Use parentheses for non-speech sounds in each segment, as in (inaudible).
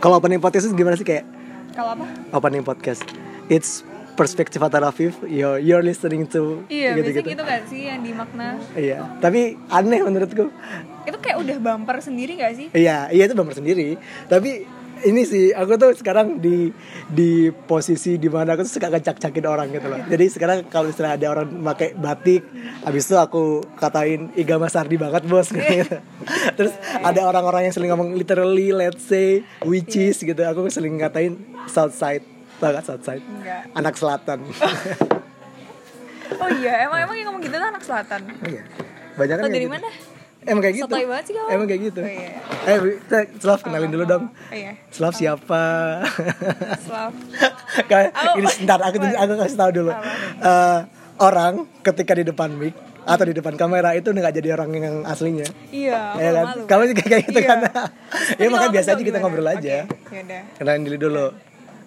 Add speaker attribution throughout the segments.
Speaker 1: Kalau opening podcast itu gimana sih kayak
Speaker 2: Kalau apa?
Speaker 1: opening podcast? It's perspective Atar Afif. You're you're listening to
Speaker 2: Iya, biasanya
Speaker 1: gitu-gitu.
Speaker 2: gitu kan sih yang dimakna.
Speaker 1: Iya, tapi aneh menurutku.
Speaker 2: Itu kayak udah bumper sendiri gak sih?
Speaker 1: Iya, iya itu bumper sendiri. Tapi ini sih aku tuh sekarang di di posisi dimana aku tuh suka ngecak-cakin orang gitu loh. Jadi sekarang kalau misalnya ada orang pakai batik, habis itu aku katain Iga Mas Ardi banget bos (laughs) gitu. Terus ada orang-orang yang sering ngomong literally, let's say, witches gitu. Aku sering ngatain Southside, tau gak Southside?
Speaker 2: Enggak.
Speaker 1: Anak (laughs) selatan.
Speaker 2: Oh iya, emang emang yang ngomong gitu tuh anak selatan.
Speaker 1: Iya. Banyak kan
Speaker 2: Lo
Speaker 1: kayak
Speaker 2: dari
Speaker 1: gitu.
Speaker 2: mana?
Speaker 1: Emang kayak gitu.
Speaker 2: Sotoy banget sih kamu.
Speaker 1: Emang kayak gitu.
Speaker 2: Oh, iya.
Speaker 1: Eh, kita- Slav kenalin dulu dong.
Speaker 2: Oh iya,
Speaker 1: Slav siapa?
Speaker 2: (laughs) Slav.
Speaker 1: Kayak
Speaker 2: Oh, Apa?
Speaker 1: ini sebentar aku aku kasih tahu dulu. Eh, orang ketika di depan mic atau di depan kamera itu nggak jadi orang yang aslinya. (laughs)
Speaker 2: Iya, aku
Speaker 1: Iya kan?
Speaker 2: malu.
Speaker 1: Kamu juga kayak gitu
Speaker 2: Iya.
Speaker 1: kan? (laughs)
Speaker 2: Tapi
Speaker 1: Iya makanya
Speaker 2: kalau
Speaker 1: biasa
Speaker 2: aku
Speaker 1: aja kita
Speaker 2: gimana?
Speaker 1: ngobrol aja.
Speaker 2: Oke, yaudah.
Speaker 1: Kenalin diri dulu.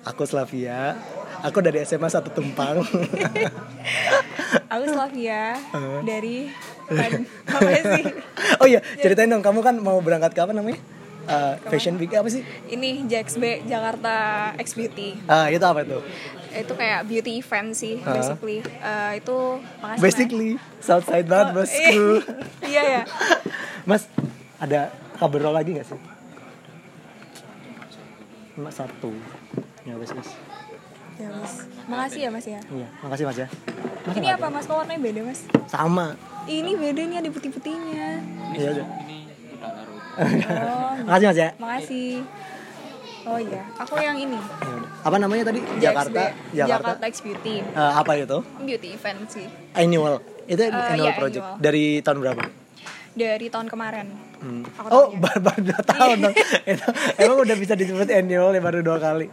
Speaker 1: Aku Slavia. Aku dari SMA satu Tumpang.
Speaker 2: (laughs) Aku Slavia
Speaker 1: (laughs)
Speaker 2: dari Pad- apa sih?
Speaker 1: oh iya, ceritain dong kamu kan mau berangkat kapan namanya? Eh, fashion Week apa sih?
Speaker 2: Ini JXB Jakarta X Beauty.
Speaker 1: Ah, itu apa tuh?
Speaker 2: Itu kayak beauty event sih, basically. Eh, itu makasih.
Speaker 1: Basically, Southside banget
Speaker 2: Mas.
Speaker 1: bosku.
Speaker 2: Oh, (laughs) Iya ya.
Speaker 1: (laughs) Mas, ada kabar lagi gak sih? Cuma satu. Ya wes wes.
Speaker 2: Ya, Mas. Makasih ya, Mas ya.
Speaker 1: Iya, makasih Mas ya. Mas,
Speaker 2: Ini apa, Mas? Kok warnanya beda, Mas?
Speaker 1: Sama.
Speaker 2: Ini beda nih ada putih-putihnya.
Speaker 1: Iya udah.
Speaker 2: Oh,
Speaker 1: Makasih Mas ya.
Speaker 2: (laughs) makasih. Oh iya, aku yang ini.
Speaker 1: Ya udah. Apa namanya tadi? Jakarta, Jakarta.
Speaker 2: JXB, Iya, Jakarta X Beauty.
Speaker 1: Eh, apa itu?
Speaker 2: Beauty event sih.
Speaker 1: Annual. Itu annual
Speaker 2: iya,
Speaker 1: project.
Speaker 2: annual.
Speaker 1: Dari tahun berapa?
Speaker 2: Dari tahun kemarin.
Speaker 1: Hmm.
Speaker 2: Aku
Speaker 1: Oh,
Speaker 2: tanya.
Speaker 1: baru, baru dua tahun
Speaker 2: (laughs)
Speaker 1: dong. Itu emang udah bisa disebut annual ya baru dua kali.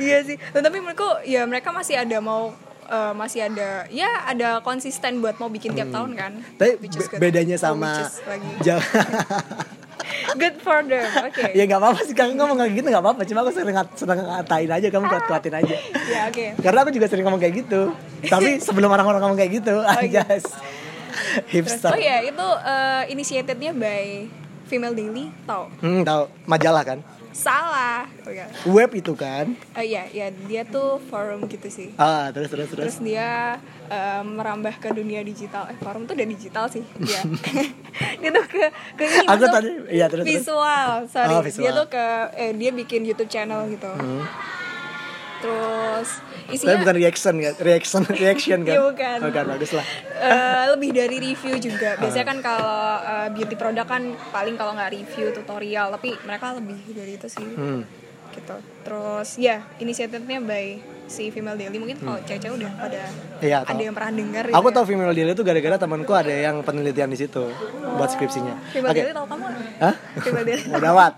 Speaker 2: Iya sih. Dan tapi menurutku ya mereka masih ada mau eh, masih ada ya ada konsisten buat mau
Speaker 1: Hmm.
Speaker 2: bikin tiap tahun kan.
Speaker 1: Tapi
Speaker 2: Which is
Speaker 1: be-
Speaker 2: good.
Speaker 1: bedanya
Speaker 2: Oh, which
Speaker 1: sama
Speaker 2: is
Speaker 1: (laughs)
Speaker 2: lagi.
Speaker 1: Jakarta.
Speaker 2: Good for
Speaker 1: (laughs)
Speaker 2: them. Oke.
Speaker 1: ya nggak apa-apa sih kamu ngomong kayak gitu nggak apa-apa cuma aku sering ngat- seneng ngatain aja kamu kuat kuatin aja
Speaker 2: Ya, oke.
Speaker 1: karena aku juga sering ngomong kayak gitu
Speaker 2: (laughs)
Speaker 1: tapi sebelum orang-orang ngomong kayak gitu (laughs) anjas
Speaker 2: Terus,
Speaker 1: hipster
Speaker 2: iya. Oh iya, itu eh, initiatednya by Female Daily, tau?
Speaker 1: hmm tahu majalah kan
Speaker 2: Salah. Oh iya.
Speaker 1: web itu kan
Speaker 2: Eh, iya, iya, dia tuh forum gitu sih.
Speaker 1: ah terus terus terus
Speaker 2: Terus dia eh, merambah ke dunia digital. Eh, forum tuh udah digital sih.
Speaker 1: (laughs)
Speaker 2: Iya. (laughs) dia tuh ke ke ini
Speaker 1: Aku
Speaker 2: masuk
Speaker 1: tadi- iya, terus, terus.
Speaker 2: visual, sorry.
Speaker 1: Oh, visual. Hmm.
Speaker 2: Dia tuh ke eh dia bikin YouTube channel gitu. Terus
Speaker 1: tapi
Speaker 2: isinya
Speaker 1: bukan reaction kan reaction (laughs) reaction kan
Speaker 2: Iya, bukan.
Speaker 1: bukan bagus lah
Speaker 2: eh, lebih dari review juga.
Speaker 1: Ah.
Speaker 2: Biasanya kan kalau eh, beauty product kan paling kalau nggak review tutorial, tapi mereka lebih dari itu sih.
Speaker 1: hmm.
Speaker 2: Gitu. Terus ya, inisiatifnya by si Female Daily mungkin kalau cewek-cewek udah pada
Speaker 1: Iya,
Speaker 2: ada
Speaker 1: tahu.
Speaker 2: yang pernah dengar gitu
Speaker 1: Hmm. aku
Speaker 2: ya.
Speaker 1: tau female daily itu gara-gara temanku ada yang penelitian di situ buat skripsinya
Speaker 2: Female Daily tau kamu?
Speaker 1: Hah?
Speaker 2: Female Daily
Speaker 1: Udah amat.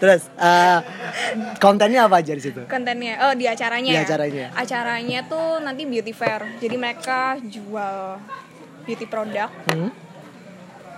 Speaker 1: Terus eh, kontennya apa aja di situ?
Speaker 2: kontennya oh di acaranya
Speaker 1: Di
Speaker 2: ya?
Speaker 1: acaranya.
Speaker 2: acaranya tuh nanti beauty fair jadi mereka jual beauty product
Speaker 1: Hmm?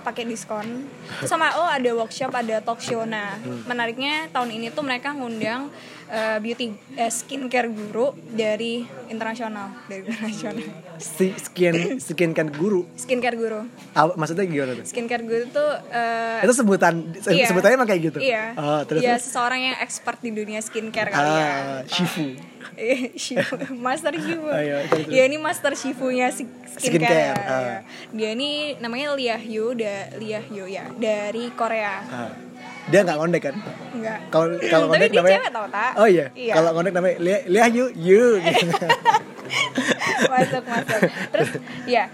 Speaker 2: pakai diskon Terus sama oh ada workshop ada talk show nah
Speaker 1: Hmm.
Speaker 2: menariknya tahun ini tuh mereka ngundang eh, beauty eh, skincare guru dari internasional dari internasional
Speaker 1: si skin skin kan guru
Speaker 2: skincare guru
Speaker 1: Apa- maksudnya gimana tuh
Speaker 2: skincare guru tuh eh,
Speaker 1: itu sebutan se-
Speaker 2: iya.
Speaker 1: sebutannya emang kayak gitu
Speaker 2: iya
Speaker 1: oh, terus
Speaker 2: Iya,
Speaker 1: terus.
Speaker 2: seseorang yang expert di dunia skincare kali ya
Speaker 1: ah shifu
Speaker 2: Eh, Shifu, Master Shifu.
Speaker 1: Ayo, terus, terus.
Speaker 2: ya ini Master Shifunya si-
Speaker 1: Skincare,
Speaker 2: skincare. ya.
Speaker 1: ah.
Speaker 2: Dia ini namanya Lia Hyu, da, Lia Hyu ya, dari Korea.
Speaker 1: Ah. dia nggak ngondek kan
Speaker 2: Enggak.
Speaker 1: kalau kalau
Speaker 2: Tapi
Speaker 1: ngondek
Speaker 2: dia
Speaker 1: namanya
Speaker 2: cewek tau tak?
Speaker 1: oh iya,
Speaker 2: Iya.
Speaker 1: kalau ngondek namanya lihat lihat you you gitu.
Speaker 2: (laughs) masuk masuk. Terus ya,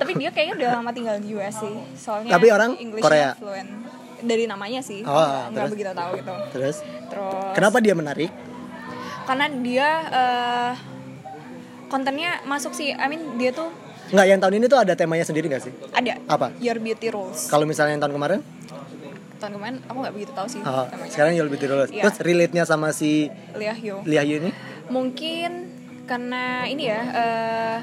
Speaker 2: tapi dia kayaknya udah lama tinggal di US sih. Soalnya
Speaker 1: Tapi orang
Speaker 2: English
Speaker 1: Korea?
Speaker 2: fluent. Dari namanya sih.
Speaker 1: Oh,
Speaker 2: nggak- nggak
Speaker 1: terus?
Speaker 2: begitu tahu gitu.
Speaker 1: terus
Speaker 2: Terus
Speaker 1: kenapa dia menarik
Speaker 2: karena dia eh, kontennya masuk sih. I mean dia tuh
Speaker 1: nggak yang tahun ini tuh ada temanya sendiri nggak sih
Speaker 2: ada
Speaker 1: Apa?
Speaker 2: Your Beauty Rules.
Speaker 1: kalau misalnya yang tahun kemarin
Speaker 2: tahun kemarin aku nggak begitu tahu sih
Speaker 1: oh,
Speaker 2: namanya.
Speaker 1: sekarang you lebih dulu
Speaker 2: Iya.
Speaker 1: terus relate nya sama si
Speaker 2: Lia Hyo
Speaker 1: lihat you ini
Speaker 2: mungkin karena ini ya eh,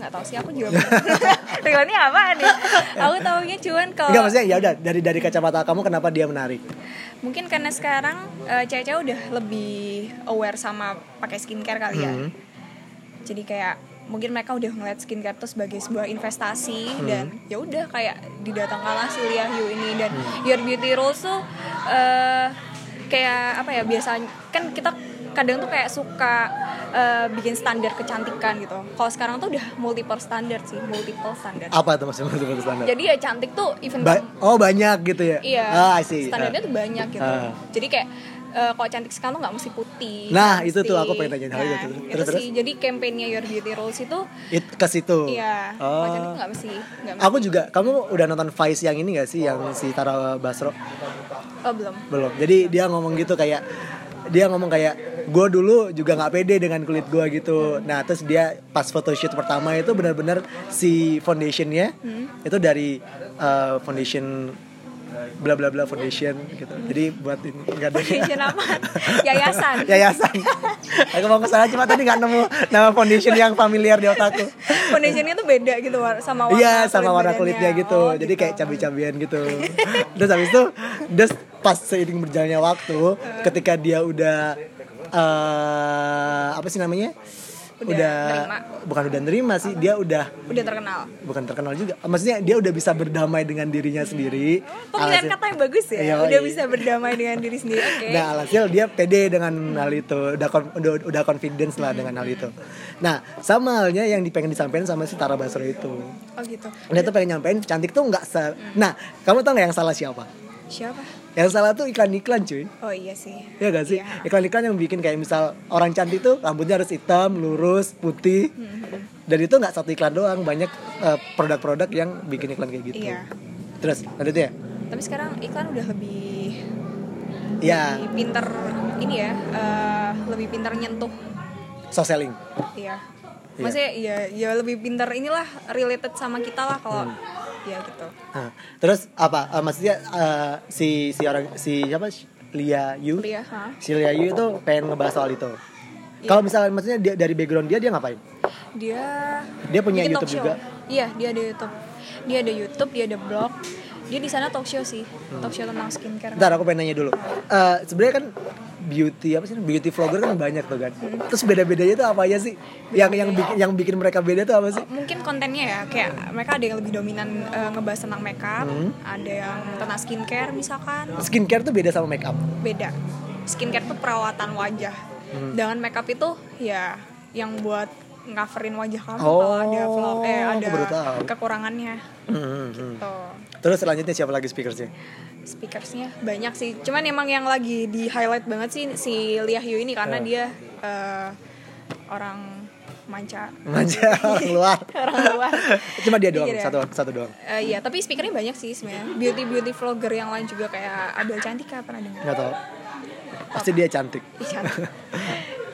Speaker 2: nggak tahu sih aku juga (laughs) Rilani apa nih aku tahunya cuman kalau
Speaker 1: Enggak maksudnya ya udah dari dari kacamata kamu kenapa dia menarik
Speaker 2: mungkin karena sekarang eh, cewek-cewek udah lebih aware sama pakai skincare kali ya
Speaker 1: Hmm.
Speaker 2: jadi kayak mungkin mereka udah ngeliat skincare tuh sebagai sebuah investasi
Speaker 1: Hmm.
Speaker 2: dan ya udah
Speaker 1: Hmm.
Speaker 2: kayak didatangkanlah si Lia Hyu ini dan Your Beauty Rules tuh eh, kayak apa ya biasanya kan kita kadang tuh kayak suka eh, bikin standar kecantikan gitu. Kalau sekarang tuh udah multiple standar sih, multiple standar.
Speaker 1: Apa tuh maksudnya multiple standar?
Speaker 2: Jadi ya cantik tuh even
Speaker 1: Nah. Ba- oh banyak gitu ya?
Speaker 2: Iya.
Speaker 1: Ah, I see.
Speaker 2: Standarnya
Speaker 1: Ah.
Speaker 2: tuh banyak gitu.
Speaker 1: Ah.
Speaker 2: Jadi kayak eh, kalau cantik sekarang tuh nggak mesti putih.
Speaker 1: Nah,
Speaker 2: nggak
Speaker 1: itu tuh
Speaker 2: mesti-
Speaker 1: aku pengen tanyain hal
Speaker 2: nah,
Speaker 1: itu.
Speaker 2: itu
Speaker 1: Terus,
Speaker 2: sih. Jadi kampanyenya Your Beauty Rules itu
Speaker 1: Ah, It, ke situ.
Speaker 2: iya, kalau cantik tuh
Speaker 1: Oh.
Speaker 2: nggak mesti nggak mesti.
Speaker 1: Aku juga, kamu udah nonton Vice yang ini gak sih yang si Tara Basro?
Speaker 2: Oh, belum.
Speaker 1: Belum. Jadi dia ngomong gitu kayak dia ngomong kayak gue dulu juga nggak pede dengan kulit gue gitu. Nah terus dia pas photoshoot pertama itu benar-benar si foundationnya itu dari uh, foundation bla bla bla foundation gitu. Jadi buat ini nggak ada
Speaker 2: Foundation apa? Yayasan.
Speaker 1: (laughs) yayasan. Aku mau kesana cuma tadi nggak nemu nama foundation yang familiar di otakku.
Speaker 2: Foundationnya tuh beda gitu war- sama warna
Speaker 1: Iya sama warna
Speaker 2: kulit
Speaker 1: kulitnya
Speaker 2: badannya.
Speaker 1: gitu.
Speaker 2: Oh,
Speaker 1: Jadi kayak cabai-cabian gitu. terus habis itu terus pas seiring berjalannya waktu ketika dia udah eh apa sih namanya?
Speaker 2: Udah nerima.
Speaker 1: bukan udah nerima sih, dia udah
Speaker 2: gitu. udah terkenal.
Speaker 1: bukan terkenal juga. Maksudnya dia udah bisa berdamai dengan dirinya sendiri.
Speaker 2: Oh, Pemilihan
Speaker 1: Alhasil-
Speaker 2: kata yang bagus ya.
Speaker 1: Ah, Iya,
Speaker 2: udah
Speaker 1: iya.
Speaker 2: bisa berdamai dengan diri sendiri. Oke.
Speaker 1: Nah, alhasil dia pede dengan hal itu, udah kon- udah, udah confidence lah dengan hal itu. Nah, sama halnya yang pengen disampaikan sama si Tara Basro itu.
Speaker 2: Oh gitu.
Speaker 1: Dia tuh pengen nyampein cantik tuh nggak se... Nah, kamu tau nggak yang salah siapa?
Speaker 2: Siapa?
Speaker 1: Yang salah tuh iklan-iklan cuy.
Speaker 2: Oh iya sih.
Speaker 1: Ya gak sih?
Speaker 2: Iya.
Speaker 1: Iklan-iklan yang bikin kayak misal orang cantik tuh rambutnya harus hitam, lurus, putih.
Speaker 2: Mm-hmm.
Speaker 1: Dan itu nggak satu iklan doang, banyak eh, produk-produk yang bikin iklan kayak gitu.
Speaker 2: Iya.
Speaker 1: Terus ya? lanjutnya?
Speaker 2: Tapi sekarang iklan udah lebih
Speaker 1: Ya,
Speaker 2: lebih pinter ini ya, eh, lebih pinter nyentuh
Speaker 1: soft selling.
Speaker 2: Iya. Maksudnya ya ya lebih pintar inilah related sama kita lah kalau
Speaker 1: Hmm.
Speaker 2: ya gitu.
Speaker 1: Nah, terus apa? Eh, maksudnya eh, si si orang si siapa? Lia Yu.
Speaker 2: Lia, Iya. ha?
Speaker 1: Si Lia Yu itu pengen ngebahas soal itu. Kalau misalnya maksudnya dia dari background dia dia ngapain?
Speaker 2: Dia
Speaker 1: Dia punya
Speaker 2: bikin
Speaker 1: YouTube
Speaker 2: talk show.
Speaker 1: juga?
Speaker 2: Iya, dia ada YouTube. Dia ada YouTube, dia ada blog. Dia di sana talk show sih.
Speaker 1: Hmm.
Speaker 2: Talk show tentang skincare.
Speaker 1: Ntar aku pengen nanya dulu. Eh Sebenarnya kan beauty apa sih? Beauty vlogger kan banyak tuh kan. Terus beda-bedanya tuh apa aja sih? Yang yang bikin yang bikin mereka beda tuh apa sih?
Speaker 2: Mungkin kontennya ya kayak mereka ada yang lebih dominan eh, ngebahas tentang makeup,
Speaker 1: Hmm.
Speaker 2: ada yang tentang skincare misalkan.
Speaker 1: Skincare tuh beda sama make up.
Speaker 2: beda skincare tuh perawatan wajah
Speaker 1: Hmm.
Speaker 2: dengan makeup itu ya yang buat ngaverin wajah kamu kalau ada
Speaker 1: Oh,
Speaker 2: flaw eh
Speaker 1: aku
Speaker 2: ada
Speaker 1: baru tahu.
Speaker 2: kekurangannya tuh
Speaker 1: Hmm, Terus selanjutnya siapa lagi speakersnya?
Speaker 2: speakersnya banyak sih cuman emang yang lagi di highlight banget sih si Lia Yu ini karena dia eh, orang manca
Speaker 1: (laughs) Manja orang luar.
Speaker 2: (laughs) orang luar
Speaker 1: Cuma dia doang,
Speaker 2: Iya, iya.
Speaker 1: satu satu doang.
Speaker 2: Eh, iya tapi speakernya banyak sih sebenarnya beauty beauty vlogger yang lain juga kayak Abel Cantika pernah dengar
Speaker 1: Nggak tahu. Pasti dia cantik.
Speaker 2: Iya.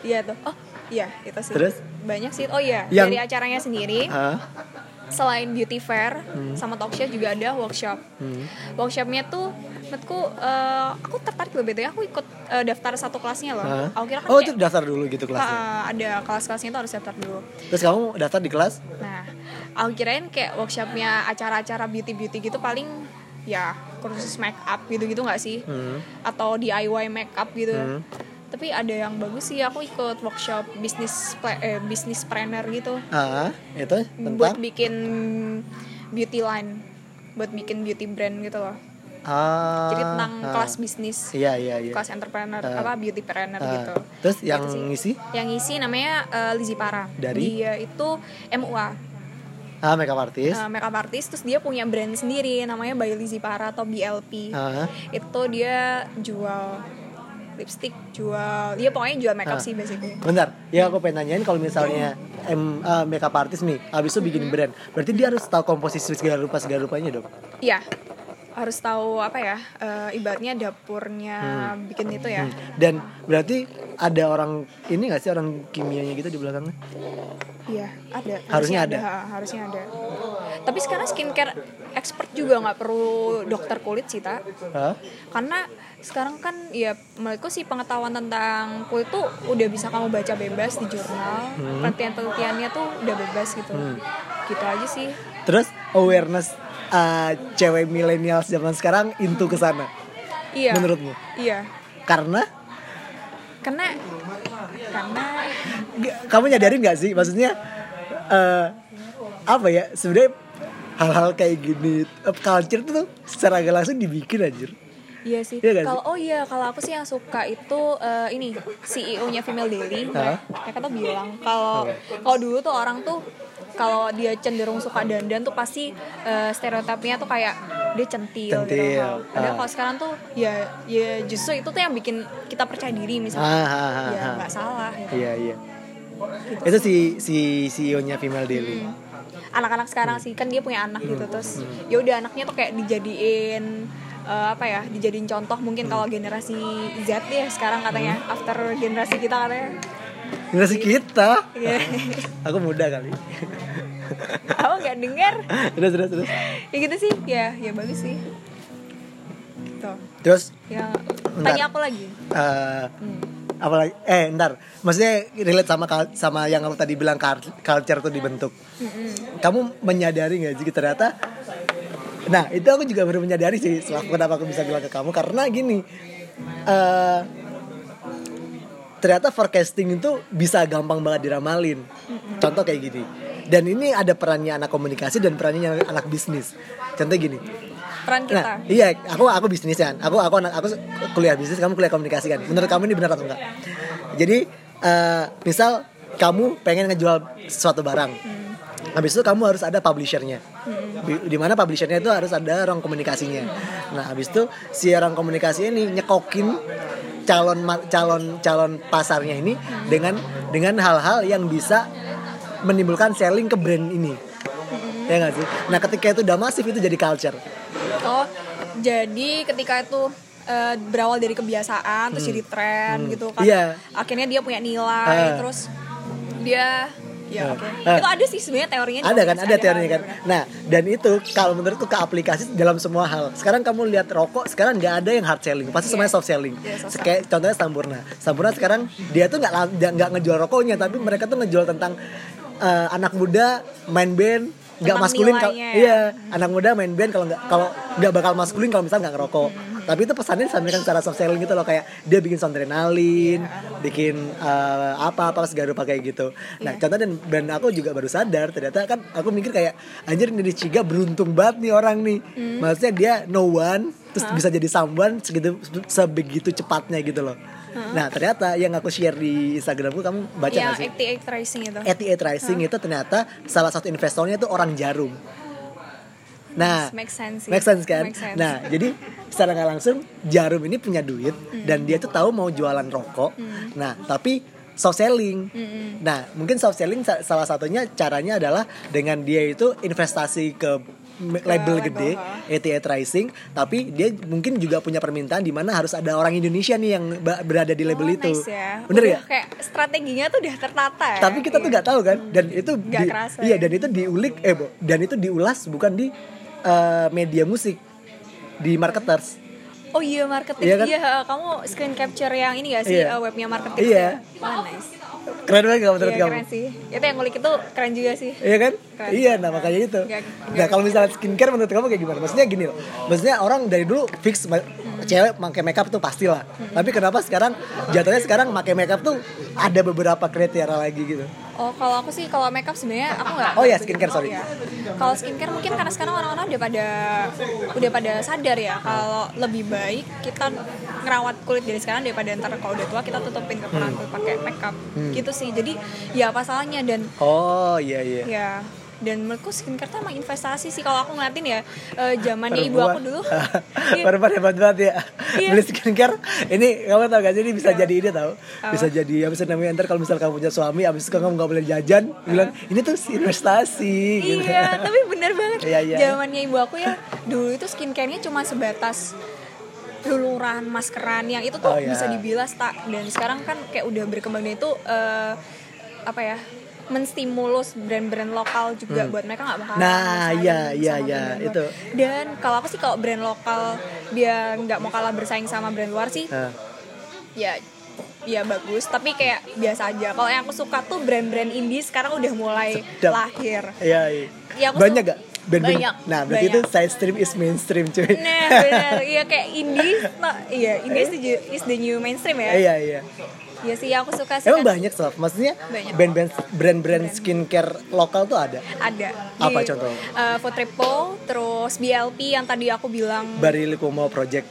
Speaker 2: Iya tuh. Oh, iya itu sih.
Speaker 1: Terus?
Speaker 2: Banyak sih. Oh iya,
Speaker 1: Yang-
Speaker 2: dari acaranya sendiri
Speaker 1: Hah?
Speaker 2: selain beauty fair
Speaker 1: Hmm.
Speaker 2: sama talk show juga ada workshop. Workshopnya tuh menurutku eh, aku tertarik loh BTW aku ikut eh, daftar satu kelasnya loh.
Speaker 1: Hah?
Speaker 2: Aku kira kan
Speaker 1: Oh, itu
Speaker 2: kayak,
Speaker 1: daftar dulu gitu kelasnya.
Speaker 2: eh, ada kelas-kelasnya tuh harus daftar dulu.
Speaker 1: Terus kamu daftar di kelas?
Speaker 2: Nah, aku kirain kayak workshopnya acara-acara beauty-beauty gitu paling ya kursus make up gitu-gitu nggak sih?
Speaker 1: Hmm.
Speaker 2: Atau DIY make up gitu. Tapi ada yang bagus sih, aku ikut workshop bisnis pla- eh, bisnis planner gitu
Speaker 1: Ah, itu tentang
Speaker 2: buat bikin beauty line, buat bikin beauty brand gitu loh.
Speaker 1: ah,
Speaker 2: Jadi tentang
Speaker 1: ah.
Speaker 2: kelas bisnis,
Speaker 1: Iya, iya, iya.
Speaker 2: kelas entrepreneur,
Speaker 1: Ah.
Speaker 2: apa beauty planner
Speaker 1: Ah.
Speaker 2: gitu.
Speaker 1: Terus yang
Speaker 2: Gitu sih.
Speaker 1: ngisi?
Speaker 2: Yang ngisi namanya eh, Lizzy Para.
Speaker 1: Dari?
Speaker 2: Dia itu MUA,
Speaker 1: Ah, makeup artist.
Speaker 2: uh, makeup artist terus dia punya brand sendiri namanya By Lizzy Para atau BLP
Speaker 1: Ah.
Speaker 2: itu dia jual lipstick jual dia pokoknya jual makeup
Speaker 1: Ah.
Speaker 2: sih basically
Speaker 1: Bentar, ya aku pengen nanyain kalau misalnya em, eh, makeup artist nih, habis itu bikin brand, berarti dia harus tahu komposisi segala rupa segala rupanya dong.
Speaker 2: iya harus tahu apa ya uh, ibaratnya dapurnya
Speaker 1: Hmm.
Speaker 2: bikin itu ya
Speaker 1: Dan berarti ada orang ini nggak sih orang kimianya gitu di belakangnya?
Speaker 2: iya ada
Speaker 1: Harusnya ada.
Speaker 2: ha, harusnya ada tapi sekarang skincare expert juga nggak perlu dokter kulit sih tak
Speaker 1: Hah?
Speaker 2: karena sekarang kan ya menurutku sih pengetahuan tentang kulit tuh udah bisa kamu baca bebas di jurnal penelitian-penelitiannya tuh udah bebas gitu gitu aja sih
Speaker 1: Terus awareness eh, cewek milenial zaman sekarang into ke sana,
Speaker 2: iya
Speaker 1: menurutmu?
Speaker 2: iya
Speaker 1: Karena
Speaker 2: karena karena
Speaker 1: G- kamu nyadarin nggak sih, maksudnya eh, apa ya? Sebenarnya hal-hal kayak gini, eh, culture tuh secara gak langsung dibikin anjir.
Speaker 2: Iya sih.
Speaker 1: Iya nggak sih?
Speaker 2: kalau oh iya kalau aku sih yang suka itu eh, ini CEO-nya Female Daily.
Speaker 1: Hah?
Speaker 2: Mereka tuh bilang kalau kalau dulu tuh orang tuh kalau dia cenderung suka dandan tuh pasti eh, stereotipnya tuh kayak dia centil,
Speaker 1: Centil.
Speaker 2: gitu. Padahal
Speaker 1: Ah.
Speaker 2: kalau sekarang tuh ya ya justru itu tuh yang bikin kita percaya diri misalnya.
Speaker 1: Ah, ah, ah,
Speaker 2: ya
Speaker 1: ah.
Speaker 2: nggak salah. gitu.
Speaker 1: Iya iya. Itu si si CEO-nya Female Daily.
Speaker 2: anak-anak sekarang sih kan dia punya anak gitu terus ya udah anaknya tuh kayak dijadiin eh, apa ya dijadiin contoh mungkin kalau generasi Z ya sekarang katanya after generasi kita katanya
Speaker 1: Generasi kita.
Speaker 2: Iya.
Speaker 1: Aku muda kali. (laughs)
Speaker 2: aku nggak dengar
Speaker 1: terus terus terus.
Speaker 2: ya gitu sih ya ya bagus sih gitu
Speaker 1: Terus
Speaker 2: ya
Speaker 1: Bentar.
Speaker 2: tanya aku lagi
Speaker 1: eh apalagi eh ntar maksudnya relate sama kal- sama yang kamu tadi bilang kar- culture tuh dibentuk kamu menyadari nggak sih ternyata nah itu aku juga baru menyadari sih setelah kenapa aku bisa bilang ke kamu karena gini eh ternyata forecasting itu bisa gampang banget diramalin. Contoh kayak gini. Dan ini ada perannya anak komunikasi dan perannya anak bisnis. Contoh gini.
Speaker 2: peran kita
Speaker 1: Nah, iya, aku aku bisnis kan. Aku aku anak aku kuliah bisnis, kamu kuliah komunikasi kan. Menurut kamu ini benar atau enggak? Jadi, eh, misal kamu pengen ngejual suatu barang. Habis itu kamu harus ada publishernya. Di, di mana publishernya itu harus ada orang komunikasinya. Nah, habis itu si orang komunikasi ini nyekokin calon ma- calon calon pasarnya ini dengan dengan hal-hal yang bisa menimbulkan selling ke brand ini ya nggak sih nah ketika itu udah masif itu jadi culture
Speaker 2: Oh, jadi ketika itu eh, berawal dari kebiasaan terus jadi tren gitu
Speaker 1: Hmm.
Speaker 2: kan.
Speaker 1: Iya.
Speaker 2: Akhirnya dia punya nilai
Speaker 1: Ah.
Speaker 2: terus dia
Speaker 1: Ah.
Speaker 2: ya oke.
Speaker 1: Ah.
Speaker 2: Itu ada sih sebenarnya teorinya.
Speaker 1: ada kan
Speaker 2: cuma gitu.
Speaker 1: ada teorinya kan
Speaker 2: bener-bener.
Speaker 1: nah dan itu kalau menurutku ke aplikasi dalam semua hal sekarang kamu lihat rokok sekarang nggak ada yang hard selling pasti semuanya soft selling
Speaker 2: Iya, soft
Speaker 1: kayak contohnya Sampurna Sampurna sekarang dia tuh nggak la- nggak nggak ngejual rokoknya tapi mereka tuh ngejual tentang eh, anak muda main band nggak
Speaker 2: Tentang
Speaker 1: maskulin kalau
Speaker 2: nilainya ya.
Speaker 1: iya anak muda main band kalau nggak kalau nggak bakal maskulin kalau misalnya nggak ngerokok tapi itu pesannya disampaikan secara soft selling gitu loh kayak dia bikin sound adrenalin bikin eh, apa apa segala rupa kayak gitu nah contoh dan dan aku juga baru sadar ternyata kan aku mikir kayak anjir ini Ciga beruntung banget nih orang nih maksudnya dia no one terus bisa jadi someone segitu sebegitu cepatnya gitu loh nah ternyata yang aku share di Instagramku kamu baca
Speaker 2: Yang
Speaker 1: nggak sih
Speaker 2: FTA Iya, tracing itu.
Speaker 1: ETA Rising itu ternyata salah satu investornya itu orang jarum. Nah,
Speaker 2: Make sense sih.
Speaker 1: make sense kan?
Speaker 2: Make sense.
Speaker 1: Nah, jadi secara nggak langsung jarum ini punya duit
Speaker 2: Hmm.
Speaker 1: dan dia tuh tahu mau jualan rokok. Nah, tapi soft selling.
Speaker 2: Hmm.
Speaker 1: Nah, mungkin soft selling sa- salah satunya caranya adalah dengan dia itu investasi ke m- label
Speaker 2: label,
Speaker 1: gede
Speaker 2: ha.
Speaker 1: ETA Rising, tapi dia mungkin juga punya permintaan di mana harus ada orang Indonesia nih yang ba- berada di label
Speaker 2: Oh,
Speaker 1: itu.
Speaker 2: nice ya.
Speaker 1: Bener
Speaker 2: Udah
Speaker 1: ya?
Speaker 2: Kayak strateginya tuh udah tertata ya.
Speaker 1: tapi kita tuh
Speaker 2: Iya.
Speaker 1: nggak tahu kan dan itu
Speaker 2: Nggak
Speaker 1: di-
Speaker 2: kerasa
Speaker 1: iya
Speaker 2: ya.
Speaker 1: dan itu diulik eh Bu, dan itu diulas bukan di eh, media musik di marketers
Speaker 2: Oh iya marketing
Speaker 1: Iya
Speaker 2: iya,
Speaker 1: kan?
Speaker 2: kamu screen capture yang ini gak sih
Speaker 1: Iya.
Speaker 2: eh, webnya marketing
Speaker 1: Iya.
Speaker 2: Wah, nice.
Speaker 1: keren banget nggak menurut
Speaker 2: Iya
Speaker 1: kamu
Speaker 2: keren sih. Itu yang ngulik itu keren juga sih.
Speaker 1: Iya kan?
Speaker 2: Keren.
Speaker 1: Iya, nah makanya itu.
Speaker 2: Nggak-
Speaker 1: Nah,
Speaker 2: nggak-
Speaker 1: kalau misalnya skincare menurut kamu kayak gimana? Maksudnya gini loh. Maksudnya orang dari dulu fix ma- cewek pakai makeup tuh pastilah. Tapi kenapa sekarang jatuhnya sekarang pakai makeup tuh ada beberapa kriteria lagi gitu.
Speaker 2: Oh, kalau aku sih kalau makeup sebenarnya aku nggak.
Speaker 1: Oh,
Speaker 2: nggak
Speaker 1: iya,
Speaker 2: begitu
Speaker 1: skincare,
Speaker 2: tahu
Speaker 1: sorry.
Speaker 2: ya. Kalau skincare mungkin karena sekarang orang-orang udah pada udah pada sadar ya kalau lebih baik kita ngerawat kulit dari sekarang daripada ntar kalau udah tua kita tutupin kekurangan
Speaker 1: Hmm.
Speaker 2: kulit pakai makeup gitu sih. Jadi ya apa salahnya dan
Speaker 1: Oh, iya iya.
Speaker 2: ya dan menurutku skincare tuh emang investasi sih kalau aku ngeliatin ya eh, zamannya ibu aku
Speaker 1: (laughs)
Speaker 2: dulu. Iya.
Speaker 1: Perempuan hebat banget ya.
Speaker 2: Iya.
Speaker 1: Beli skincare. Ini kamu tau gak sih ini bisa jadi ini tau.
Speaker 2: Apa?
Speaker 1: Bisa jadi apa sih namanya ntar kalau misalnya kamu punya suami abis itu kamu nggak boleh jajan, bilang ini tuh investasi. gitu.
Speaker 2: Iya, (laughs) tapi bener banget.
Speaker 1: Iya, iya.
Speaker 2: Zamannya ibu aku ya dulu itu skincare-nya cuma sebatas luluran, maskeran yang itu tuh
Speaker 1: Oh, iya.
Speaker 2: bisa dibilas tak. Dan sekarang kan kayak udah berkembang dan itu eh, apa ya? menstimulus brand-brand lokal juga buat mereka nggak bakal
Speaker 1: Hmm. Nah,
Speaker 2: bersaing
Speaker 1: iya, iya,
Speaker 2: sama
Speaker 1: iya,
Speaker 2: brand luar.
Speaker 1: itu.
Speaker 2: dan kalau aku sih kalau brand lokal dia nggak mau kalah bersaing sama brand luar sih
Speaker 1: (laughs) Nah,
Speaker 2: ya ya bagus tapi kayak biasa aja kalau yang aku suka tuh brand-brand indie sekarang udah mulai
Speaker 1: Sedap.
Speaker 2: lahir
Speaker 1: Iya, iya.
Speaker 2: Ya, aku
Speaker 1: Banyak
Speaker 2: su-
Speaker 1: gak? Band-band-
Speaker 2: Banyak,
Speaker 1: Nah, berarti
Speaker 2: banyak.
Speaker 1: itu side stream is mainstream cuy.
Speaker 2: Nah, benar. Iya kayak indie. no, iya, indie is the, ju- is the new mainstream ya.
Speaker 1: (laughs) Iya, iya.
Speaker 2: Iya sih, aku suka sih.
Speaker 1: Emang
Speaker 2: kan.
Speaker 1: banyak sob. Maksudnya
Speaker 2: Banyak.
Speaker 1: band-band brand-brand skincare lokal tuh ada.
Speaker 2: Ada.
Speaker 1: Apa contohnya?
Speaker 2: eh, Footrepo, terus BLP yang tadi aku bilang.
Speaker 1: Barili Kumo Project.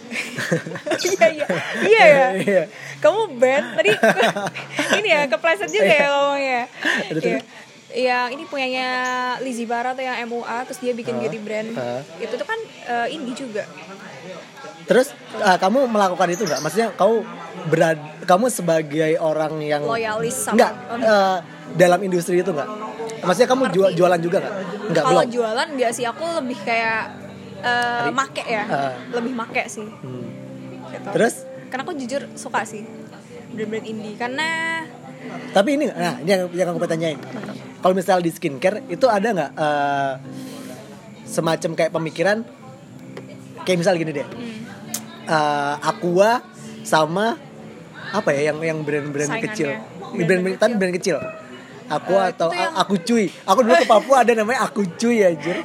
Speaker 2: (laughs) Iya, iya. Iya
Speaker 1: (laughs) Iya.
Speaker 2: ya. Kamu band tadi (laughs) ini ya kepleset juga
Speaker 1: Iya.
Speaker 2: ya ngomongnya.
Speaker 1: Aduh,
Speaker 2: Iya. Iya, ini punyanya Lizzy Bara atau yang MUA terus dia bikin beauty brand.
Speaker 1: ah.
Speaker 2: Itu tuh kan eh, indie juga.
Speaker 1: Terus eh, kamu melakukan itu nggak? Maksudnya kamu berad, kamu sebagai orang yang
Speaker 2: Loyalis sama-
Speaker 1: Nggak,
Speaker 2: Oh.
Speaker 1: eh, dalam industri itu nggak? Maksudnya kamu jual, jualan juga nggak? Nggak
Speaker 2: Hmm, Kalau
Speaker 1: belum.
Speaker 2: jualan nggak sih aku lebih kayak eh, make ya.
Speaker 1: Ah.
Speaker 2: Lebih make sih.
Speaker 1: Hmm.
Speaker 2: Gitu.
Speaker 1: Terus?
Speaker 2: Karena aku jujur suka sih brand-brand indie karena
Speaker 1: Tapi ini, nah ini yang, yang aku mau tanyain. Kalau misalnya di skincare itu ada nggak eh, semacam kayak pemikiran, kayak misal gini deh,
Speaker 2: Hmm.
Speaker 1: Eh, Aqua sama apa ya yang yang brand-brand
Speaker 2: Saingannya.
Speaker 1: kecil, brand,
Speaker 2: Brand-brand
Speaker 1: brand tapi
Speaker 2: kecil.
Speaker 1: brand kecil. Aqua
Speaker 2: Eh,
Speaker 1: atau
Speaker 2: itu yang-
Speaker 1: aku cuy, aku dulu ke Papua ada namanya aku cuy anjir.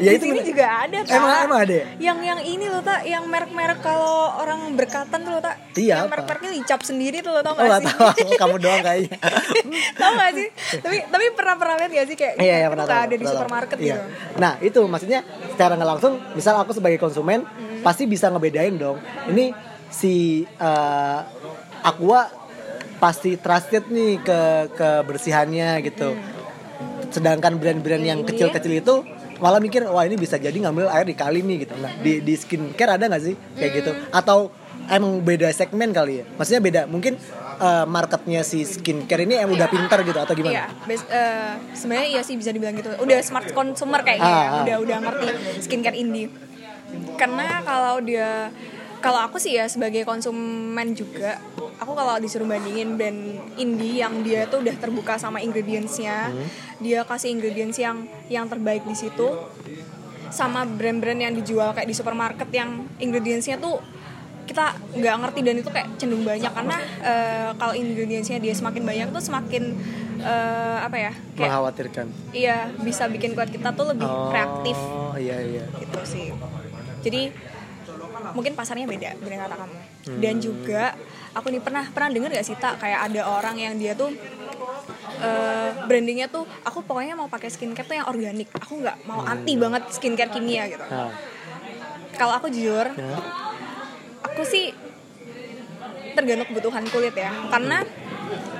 Speaker 1: Ya
Speaker 2: di
Speaker 1: itu
Speaker 2: sini
Speaker 1: bener-
Speaker 2: juga ada Kak.
Speaker 1: Emang emang ada. ya?
Speaker 2: Yang yang ini loh tak, yang merek-merek kalau orang berkatan tuh loh tak.
Speaker 1: Iya,
Speaker 2: Yang
Speaker 1: apa?
Speaker 2: merek-mereknya dicap sendiri tuh loh tau
Speaker 1: Oh
Speaker 2: gak
Speaker 1: nggak
Speaker 2: sih?
Speaker 1: tahu, aku- kamu doang kayaknya.
Speaker 2: (laughs) tau gak sih? Tapi tapi pernah pernah lihat gak sih kayak
Speaker 1: Iya, iya
Speaker 2: itu
Speaker 1: pernah
Speaker 2: Kan nggak
Speaker 1: tahu,
Speaker 2: ada di
Speaker 1: pernah tahu.
Speaker 2: supermarket
Speaker 1: Iya.
Speaker 2: gitu.
Speaker 1: Nah, itu maksudnya secara nggak langsung, misal aku sebagai konsumen
Speaker 2: Hmm.
Speaker 1: pasti bisa ngebedain dong. Ini si eh, Aqua pasti trusted nih ke kebersihannya gitu. Sedangkan brand-brand yang
Speaker 2: Hmm. Ini.
Speaker 1: kecil-kecil itu malah mikir wah ini bisa jadi ngambil air di kali nih gitu. Nah, di di skincare ada nggak sih kayak gitu?
Speaker 2: Hmm.
Speaker 1: Atau emang beda segmen kali ya? Maksudnya beda. Mungkin eh, marketnya si skincare ini emang udah pintar gitu atau gimana?
Speaker 2: Iya, bas- eh, sebenarnya iya sih bisa dibilang gitu. Udah smart consumer
Speaker 1: Ah,
Speaker 2: kayaknya, ya.
Speaker 1: ah.
Speaker 2: udah udah ngerti skincare indie. Karena kalau dia kalau aku sih ya sebagai konsumen juga, aku kalau disuruh bandingin brand indie yang dia tuh udah terbuka sama ingredientsnya,
Speaker 1: Hmm.
Speaker 2: dia kasih ingredients yang yang terbaik di situ, sama brand-brand yang dijual kayak di supermarket yang ingredientsnya tuh kita nggak ngerti dan itu kayak cenderung banyak karena eh, kalau ingredientsnya dia semakin banyak tuh semakin eh, apa ya kayak
Speaker 1: Mengkhawatirkan.
Speaker 2: iya bisa bikin kulit kita tuh lebih reaktif
Speaker 1: Oh iya iya.
Speaker 2: gitu sih jadi mungkin pasarnya beda dengan kata kamu dan juga aku nih pernah pernah dengar gak sih tak kayak ada orang yang dia tuh eh, brandingnya tuh aku pokoknya mau pakai skincare tuh yang organik aku nggak mau anti banget skincare kimia gitu
Speaker 1: Nah,
Speaker 2: kalau aku jujur
Speaker 1: ya.
Speaker 2: aku sih tergantung kebutuhan kulit ya karena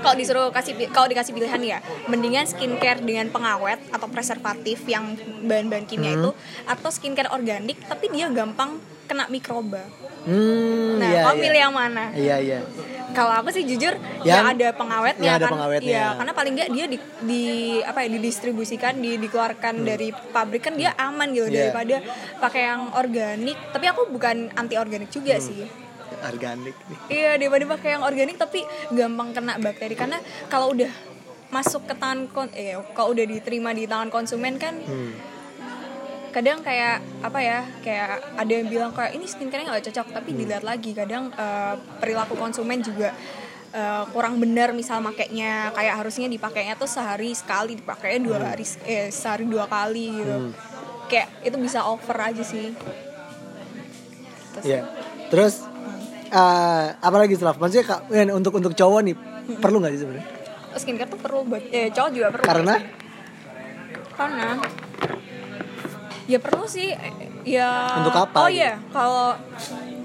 Speaker 2: kalau disuruh kasih kalau dikasih pilihan ya mendingan skincare dengan pengawet atau preservatif yang bahan-bahan kimia
Speaker 1: Hmm.
Speaker 2: itu atau skincare organik tapi dia gampang kena mikroba
Speaker 1: Hmm,
Speaker 2: nah
Speaker 1: iya,
Speaker 2: kamu
Speaker 1: iya.
Speaker 2: milih yang mana
Speaker 1: Iya iya.
Speaker 2: kalau aku sih jujur
Speaker 1: Yang-
Speaker 2: yang, ada pengawetnya
Speaker 1: yang ada
Speaker 2: kan
Speaker 1: pengawetnya.
Speaker 2: Iya, karena paling nggak dia di, di- apa ya didistribusikan di, dikeluarkan dari pabrik kan dia aman gitu
Speaker 1: Hmm. Iya.
Speaker 2: daripada pakai yang organik tapi aku bukan anti organik juga
Speaker 1: Hmm.
Speaker 2: sih
Speaker 1: Organik nih.
Speaker 2: Iya daripada pakai yang organik tapi gampang kena bakteri karena kalau udah masuk ke tangan kon eh kalau udah diterima di tangan konsumen kan
Speaker 1: Hmm.
Speaker 2: kadang kayak apa ya kayak ada yang bilang kayak ini skincare nggak cocok tapi
Speaker 1: Hmm.
Speaker 2: dilihat lagi kadang eh, perilaku konsumen juga eh, kurang benar misal makainya kayak harusnya dipakainya tuh sehari sekali dipakainya
Speaker 1: Hmm.
Speaker 2: dua hari se- eh, sehari dua kali gitu kayak itu bisa over aja sih Terus-
Speaker 1: Iya. Terus eh apa lagi Slav? Maksudnya Kak, eh, untuk untuk cowok nih perlu nggak sih sebenarnya?
Speaker 2: skincare tuh perlu buat eh cowok juga perlu
Speaker 1: Karena
Speaker 2: karena ya perlu sih ya
Speaker 1: Untuk apa
Speaker 2: oh
Speaker 1: gitu?
Speaker 2: iya kalau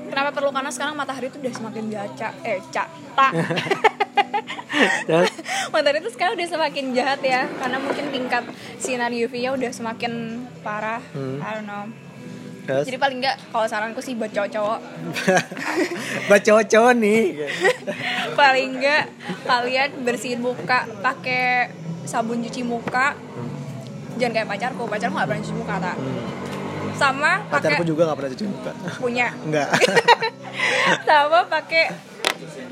Speaker 2: kenapa perlu karena sekarang matahari tuh udah semakin jaca eh cak
Speaker 1: (laughs)
Speaker 2: tak
Speaker 1: terus
Speaker 2: matahari tuh sekarang udah semakin jahat ya karena mungkin tingkat sinar UV-nya udah semakin parah
Speaker 1: Hmm.
Speaker 2: I don't know
Speaker 1: terus
Speaker 2: jadi paling nggak kalau saranku sih buat cowok-cowok
Speaker 1: (laughs)
Speaker 2: (laughs)
Speaker 1: buat cowok-cowok nih.
Speaker 2: paling nggak kalian bersihin muka pakai sabun cuci muka jangan kayak pacarku pacarku nggak pernah cuci muka tak sama pakai
Speaker 1: Hmm. Pacarku juga nggak pernah cuci muka.
Speaker 2: punya
Speaker 1: Enggak.
Speaker 2: sama pakai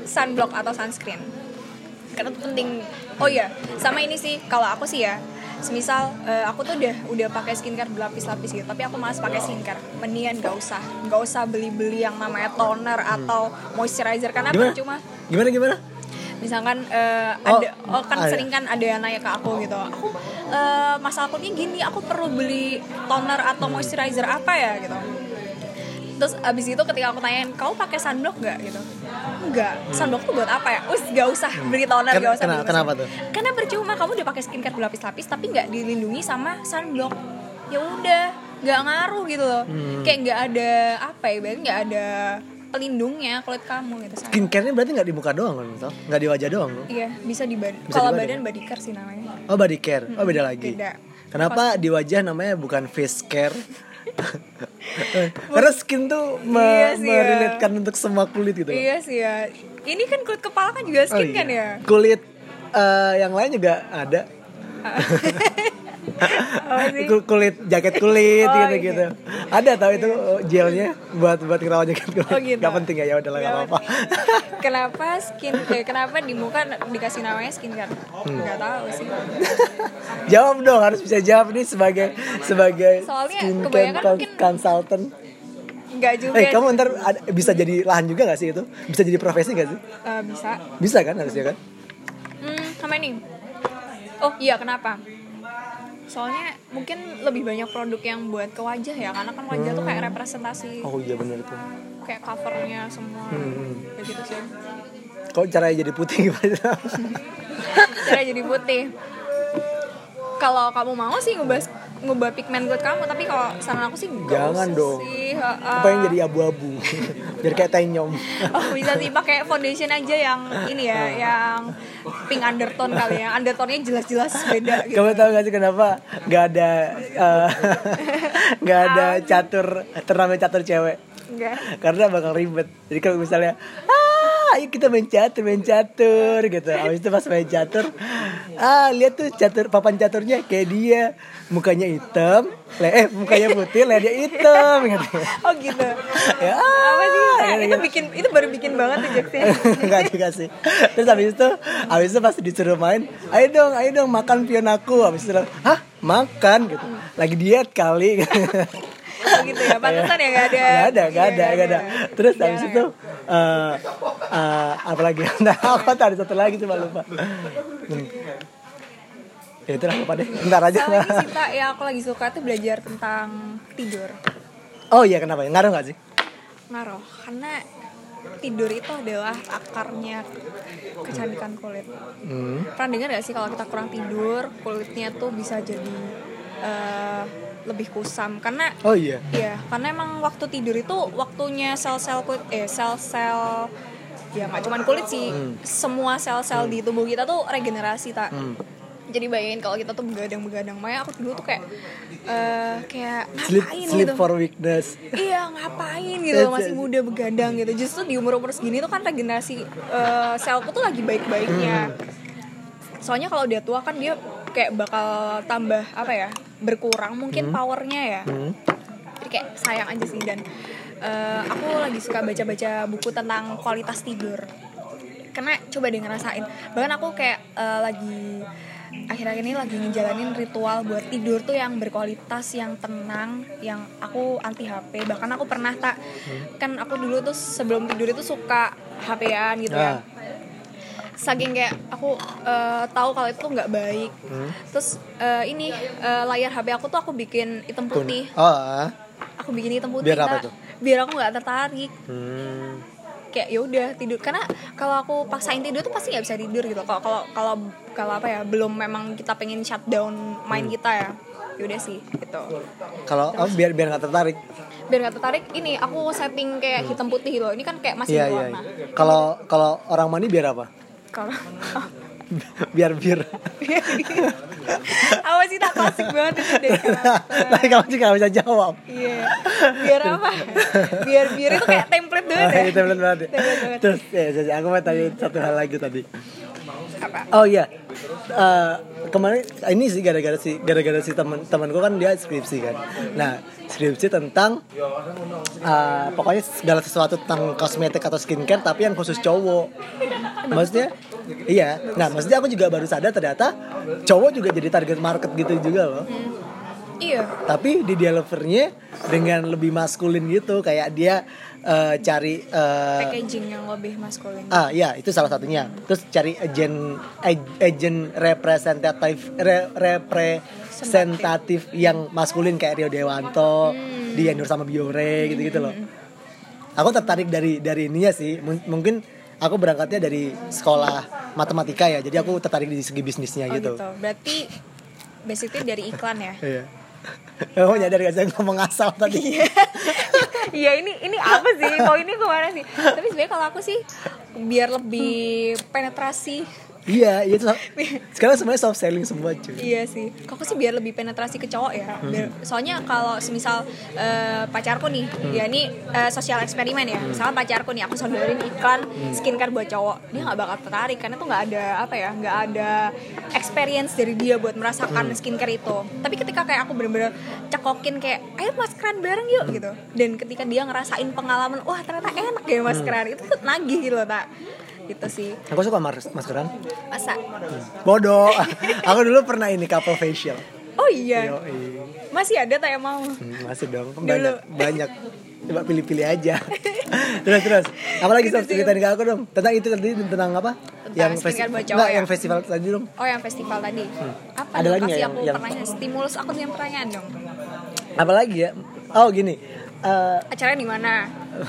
Speaker 2: sunblock atau sunscreen karena itu penting oh iya sama ini sih kalau aku sih ya semisal eh, aku tuh udah udah pakai skincare berlapis-lapis gitu tapi aku malas pakai skincare mendingan gak usah gak usah beli-beli yang namanya toner atau moisturizer karena
Speaker 1: Gimana?
Speaker 2: percuma
Speaker 1: Gimana gimana?
Speaker 2: misalkan eh,
Speaker 1: Oh,
Speaker 2: ada oh, kan
Speaker 1: ada.
Speaker 2: sering kan ada yang nanya ke aku gitu aku eh, masalah kulitnya gini aku perlu beli toner atau
Speaker 1: Hmm.
Speaker 2: moisturizer apa ya gitu terus abis itu ketika aku tanyain kau pakai sunblock gak gitu enggak sunblock tuh buat apa ya us gak usah beli toner
Speaker 1: Hmm. Ken-
Speaker 2: gak usah
Speaker 1: kena-
Speaker 2: beli
Speaker 1: kenapa
Speaker 2: moisturizer."
Speaker 1: tuh?
Speaker 2: karena percuma kamu udah pakai skincare berlapis-lapis tapi nggak dilindungi sama sunblock ya udah nggak ngaruh gitu loh
Speaker 1: Hmm.
Speaker 2: kayak nggak ada apa ya berarti nggak ada pelindungnya kulit kamu gitu sunblock.
Speaker 1: Skincare-nya berarti nggak di muka doang loh, misal. nggak di wajah doang loh.
Speaker 2: iya bisa di badan
Speaker 1: Bisa
Speaker 2: kalau
Speaker 1: di badan.
Speaker 2: badan body care sih namanya
Speaker 1: Oh body care, oh beda lagi.
Speaker 2: Beda.
Speaker 1: Kenapa di wajah namanya bukan face
Speaker 2: (laughs)
Speaker 1: care? Karena skin tuh me
Speaker 2: Iya sih, ya.
Speaker 1: merelatekan untuk semua kulit gitu. loh.
Speaker 2: iya sih ya ini kan kulit kepala kan juga
Speaker 1: Oh, iya.
Speaker 2: skin kan
Speaker 1: (laughs)
Speaker 2: ya
Speaker 1: Kulit eh, yang lain juga ada.
Speaker 2: Apa Oh, sih?
Speaker 1: Kul- kulit jaket kulit
Speaker 2: Oh, Iya.
Speaker 1: gitu gitu. Ada tahu itu eh, gelnya buat buat kerawat jaket kulit.
Speaker 2: Oh, gitu.
Speaker 1: Gak penting ya ya udahlah gak apa-apa.
Speaker 2: kenapa skin eh, kenapa di muka dikasih namanya skincare
Speaker 1: Hmm.
Speaker 2: nggak tahu sih
Speaker 1: (laughs) jawab dong harus bisa jawab nih sebagai sebagai
Speaker 2: Soalnya
Speaker 1: skincare
Speaker 2: kebanyakan
Speaker 1: kon-
Speaker 2: mungkin-
Speaker 1: consultant.
Speaker 2: nggak juga
Speaker 1: Eh kamu ntar ada- bisa jadi lahan juga gak sih itu? Bisa jadi profesi gak sih?
Speaker 2: Eh, bisa
Speaker 1: Bisa kan harusnya kan?
Speaker 2: Hmm, how many? Oh iya kenapa? Soalnya mungkin lebih banyak produk yang buat ke wajah ya Karena kan wajah tuh kayak representasi
Speaker 1: Oh iya bener itu.
Speaker 2: Kayak covernya semua
Speaker 1: Hmm.
Speaker 2: Kayak gitu sih
Speaker 1: Kok caranya jadi gitu? putih gimana?
Speaker 2: Cara jadi putih Kalau kamu mau sih ngubah, ngubah pigmen kulit kamu Tapi kalau saran aku sih nggak
Speaker 1: Jangan
Speaker 2: usah
Speaker 1: dong.
Speaker 2: sih,
Speaker 1: (laughs)
Speaker 2: heeh.
Speaker 1: Aku pengen jadi abu-abu. (laughs) Biar kayak tenyom.
Speaker 2: (laughs) Oh bisa sih pakai foundation aja yang ini ya Yang pink undertone kali ya Undertone-nya jelas-jelas beda gitu
Speaker 1: Kamu tahu gak sih kenapa gak ada eh, (laughs) gak ada catur turnamen catur cewek?
Speaker 2: Enggak
Speaker 1: Karena bakal ribet. Jadi kalau misalnya ah ayo kita main catur main catur gitu. Habis itu pas main catur ah lihat tuh catur papan caturnya kayak dia mukanya hitam, le- eh mukanya putih, lehernya hitam gitu.
Speaker 2: Oh gitu.
Speaker 1: Ya,
Speaker 2: Apa sih?
Speaker 1: (laughs)
Speaker 2: Nah,
Speaker 1: gitu,
Speaker 2: itu bikin itu baru bikin banget tuh jokesnya.
Speaker 1: Enggak juga sih Terus habis itu Habis itu pas disuruh main Ayo dong, ayo dong makan pion aku Habis itu bilang, Hah? Makan? gitu Lagi diet kali (laughs)
Speaker 2: Oh gitu ya. Pantesan ya gak ada.
Speaker 1: Gak ada, gak ada,
Speaker 2: Iya,
Speaker 1: gak ada Terus habis
Speaker 2: Jarang
Speaker 1: itu eh eh, Apa lagi? (laughs) Nah, aku tadi satu lagi cuma lupa Hmm. Ya itu lah lupa deh Ntar aja
Speaker 2: Sama ini sih Pak, yang aku lagi suka tuh belajar tentang tidur.
Speaker 1: Oh iya kenapa? Ngaruh gak sih?
Speaker 2: Ngaruh karena tidur itu adalah akarnya kecantikan kulit.
Speaker 1: Hmm.
Speaker 2: Pernah dengar gak sih kalau kita kurang tidur, kulitnya tuh bisa jadi eh, lebih kusam karena
Speaker 1: Oh iya
Speaker 2: Iya, karena emang waktu tidur itu waktunya sel-sel kulit eh sel-sel ya nggak cuman kulit sih,
Speaker 1: Hmm.
Speaker 2: semua sel-sel di tubuh kita tuh regenerasi tak. Jadi bayangin kalau kita tuh begadang-begadang, makanya aku dulu tuh kayak eh kayak
Speaker 1: Sleep,
Speaker 2: ngapain
Speaker 1: sleep
Speaker 2: gitu.
Speaker 1: for weakness
Speaker 2: Iya ngapain gitu masih muda begadang gitu justru di umur umur segini tuh kan regenerasi eh, selku tuh lagi baik baiknya soalnya kalau udah tua kan dia kayak bakal tambah apa ya berkurang mungkin powernya ya jadi kayak sayang aja sih dan eh, aku lagi suka baca baca buku tentang kualitas tidur karena coba deh ngerasain bahkan aku kayak eh, lagi akhir-akhir ini lagi ngejalanin ritual buat tidur tuh yang berkualitas yang tenang yang aku anti HP bahkan aku pernah tak kan aku dulu tuh sebelum tidur itu suka HP-an gitu
Speaker 1: Ah.
Speaker 2: ya saking kayak aku eh, tahu kalau itu tuh nggak baik terus eh, ini eh, layar HP aku tuh aku bikin hitam putih
Speaker 1: Oh ah.
Speaker 2: aku bikin hitam putih
Speaker 1: Biar apa
Speaker 2: Kak.
Speaker 1: tuh?
Speaker 2: biar aku nggak tertarik
Speaker 1: Hmm.
Speaker 2: kayak ya udah tidur karena kalau aku paksain tidur tuh pasti nggak bisa tidur gitu kalau kalau kalau kalau apa ya belum memang kita pengen shutdown main
Speaker 1: Hmm.
Speaker 2: kita ya ya udah sih gitu
Speaker 1: Kalau oh, biar biar nggak tertarik
Speaker 2: biar nggak tertarik ini aku setting kayak hitam putih loh ini kan kayak masih
Speaker 1: Iya iya.
Speaker 2: berwarna
Speaker 1: iya. Kalau kalau orang mani biar apa? (laughs)
Speaker 2: kalau (laughs)
Speaker 1: biar bir.
Speaker 2: apa sih tak klasik banget itu deh
Speaker 1: (laughs) Tapi kamu juga nggak bisa jawab.
Speaker 2: Iya, biar apa? Biar biar itu kayak template
Speaker 1: (laughs)
Speaker 2: doang ya.
Speaker 1: Itu benar banget. ya.
Speaker 2: Bener banget.
Speaker 1: Terus ya, jadi aku mau tanya satu hal lagi tadi.
Speaker 2: Apa?
Speaker 1: Oh iya. Eh, kemarin ini sih gara-gara si gara-gara si teman temanku kan dia skripsi kan. Nah, skripsi tentang eh, pokoknya segala sesuatu tentang kosmetik atau skincare tapi yang khusus cowok. Maksudnya iya. Nah, maksudnya aku juga baru sadar ternyata cowok juga jadi target market gitu juga loh.
Speaker 2: Iya.
Speaker 1: tapi di delivernya dengan lebih maskulin gitu kayak dia eh, cari eh,
Speaker 2: packaging yang lebih maskulin
Speaker 1: Ah ya itu salah satunya. Terus cari agent ag- agent representatif re- representatif yang maskulin kayak Rio Dewanto, di Dianur sama Biore gitu-gitu loh. Aku tertarik dari dari ininya sih. Mung- Mungkin aku berangkatnya dari sekolah matematika ya. Jadi aku tertarik di segi bisnisnya
Speaker 2: oh, gitu.
Speaker 1: gitu.
Speaker 2: berarti basically dari iklan ya
Speaker 1: Iya. (laughs) Oh nyadar gak saya ngomong asal tadi.
Speaker 2: (laughs) Iya ini ini apa sih poinnya kemana sih tapi sebenarnya kalau aku sih biar lebih penetrasi
Speaker 1: Iya, itu sekarang semuanya soft selling semua cuy.
Speaker 2: Iya sih, kok aku sih biar lebih penetrasi ke cowok ya. Biar- soalnya kalau semisal eh, pacarku nih, ya ini eh, sosial eksperimen ya. Misalnya pacarku nih, aku sodorin iklan skincare buat cowok, dia nggak bakal tertarik karena tuh nggak ada apa ya, nggak ada experience dari dia buat merasakan skincare itu. Tapi ketika kayak aku bener-bener cekokin kayak, ayo maskeran bareng yuk gitu. Dan ketika dia ngerasain pengalaman, wah ternyata enak ya maskeran itu tuh nagih gitu loh tak. Gitu sih,
Speaker 1: Aku suka mas maskeran.
Speaker 2: masa.
Speaker 1: Bodoh. (laughs) aku dulu pernah ini couple facial.
Speaker 2: Oh iya,
Speaker 1: Yoi.
Speaker 2: masih ada tak yang mau?
Speaker 1: Hmm, Masih dong.
Speaker 2: Dulu.
Speaker 1: Banyak banyak. Coba pilih-pilih aja. (laughs) terus terus. Apa lagi sob ceritain ke aku dong? Tentang itu tadi tentang apa?
Speaker 2: Tentang skincare buat cowok
Speaker 1: Nggak,
Speaker 2: ya?
Speaker 1: yang festival tadi dong.
Speaker 2: Oh yang festival tadi. Apa
Speaker 1: Hmm. Ada
Speaker 2: dong?
Speaker 1: lagi nggak
Speaker 2: Kasih
Speaker 1: yang-
Speaker 2: aku
Speaker 1: yang-
Speaker 2: pertanyaan stimulus aku punya pertanyaan dong.
Speaker 1: Apa lagi ya? Oh gini. Eh, (laughs)
Speaker 2: Acaranya di mana?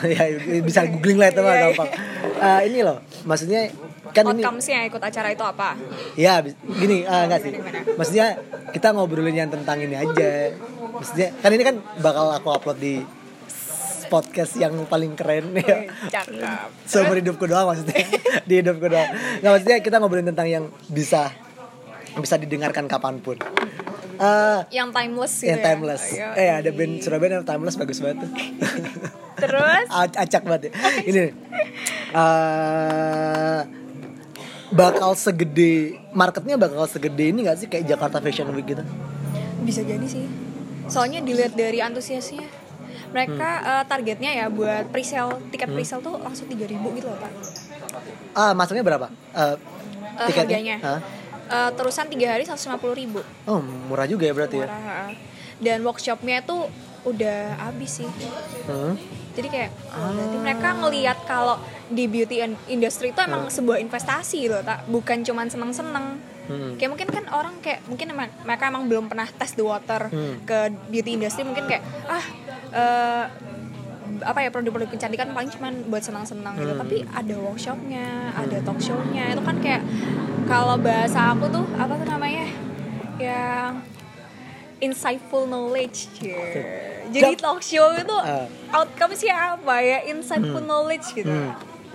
Speaker 1: ya bisa
Speaker 2: (laughs)
Speaker 1: googling lah teman
Speaker 2: Iya, iya.
Speaker 1: gampang. Eh, ini loh, maksudnya kan ini
Speaker 2: Outcomesnya ikut acara itu apa?
Speaker 1: ya bis- gini eh, nggak sih
Speaker 2: Gimana,
Speaker 1: maksudnya kita ngobrolin yang tentang ini aja maksudnya kan ini kan bakal aku upload di s- podcast yang paling keren ya
Speaker 2: Cakep.
Speaker 1: seumur hidupku doang maksudnya (laughs) di hidupku doang nggak maksudnya kita ngobrolin tentang yang bisa bisa didengarkan kapanpun Eh,
Speaker 2: Yang timeless gitu
Speaker 1: yang
Speaker 2: ya?
Speaker 1: timeless
Speaker 2: Ayo.
Speaker 1: eh ada band Surabaya yang timeless bagus banget tuh. (laughs)
Speaker 2: Terus?
Speaker 1: A- acak banget ya. ini eh, bakal segede marketnya bakal segede ini gak sih kayak Jakarta Fashion Week gitu
Speaker 2: Bisa jadi sih. Soalnya dilihat dari antusiasnya. Mereka
Speaker 1: Hmm.
Speaker 2: eh, targetnya ya buat pre-sale, tiket pre-sale tuh langsung 3000 gitu loh, Pak.
Speaker 1: ah masuknya berapa Eh,
Speaker 2: Eh, harganya.
Speaker 1: Hah?
Speaker 2: Eh, terusan 3 hari 150.000.
Speaker 1: oh murah juga ya berarti ya
Speaker 2: Murah. eh. Dan workshopnya itu udah habis sih.
Speaker 1: Hmm.
Speaker 2: jadi kayak oh, berarti mereka ngelihat kalau di beauty in- industry itu emang sebuah investasi loh tak bukan cuman seneng-seneng kayak mungkin kan orang kayak mungkin emang- mereka emang belum pernah tes the water ke beauty industry mungkin kayak ah eh, apa ya produk-produk kecantikan paling cuman buat senang-senang gitu tapi ada workshopnya ada talk show-nya itu kan kayak kalau bahasa aku tuh apa tuh namanya yang insightful knowledge cie. jadi
Speaker 1: Jap.
Speaker 2: talk show itu
Speaker 1: Ah. Hmm.
Speaker 2: outcome-nya apa ya insightful knowledge gitu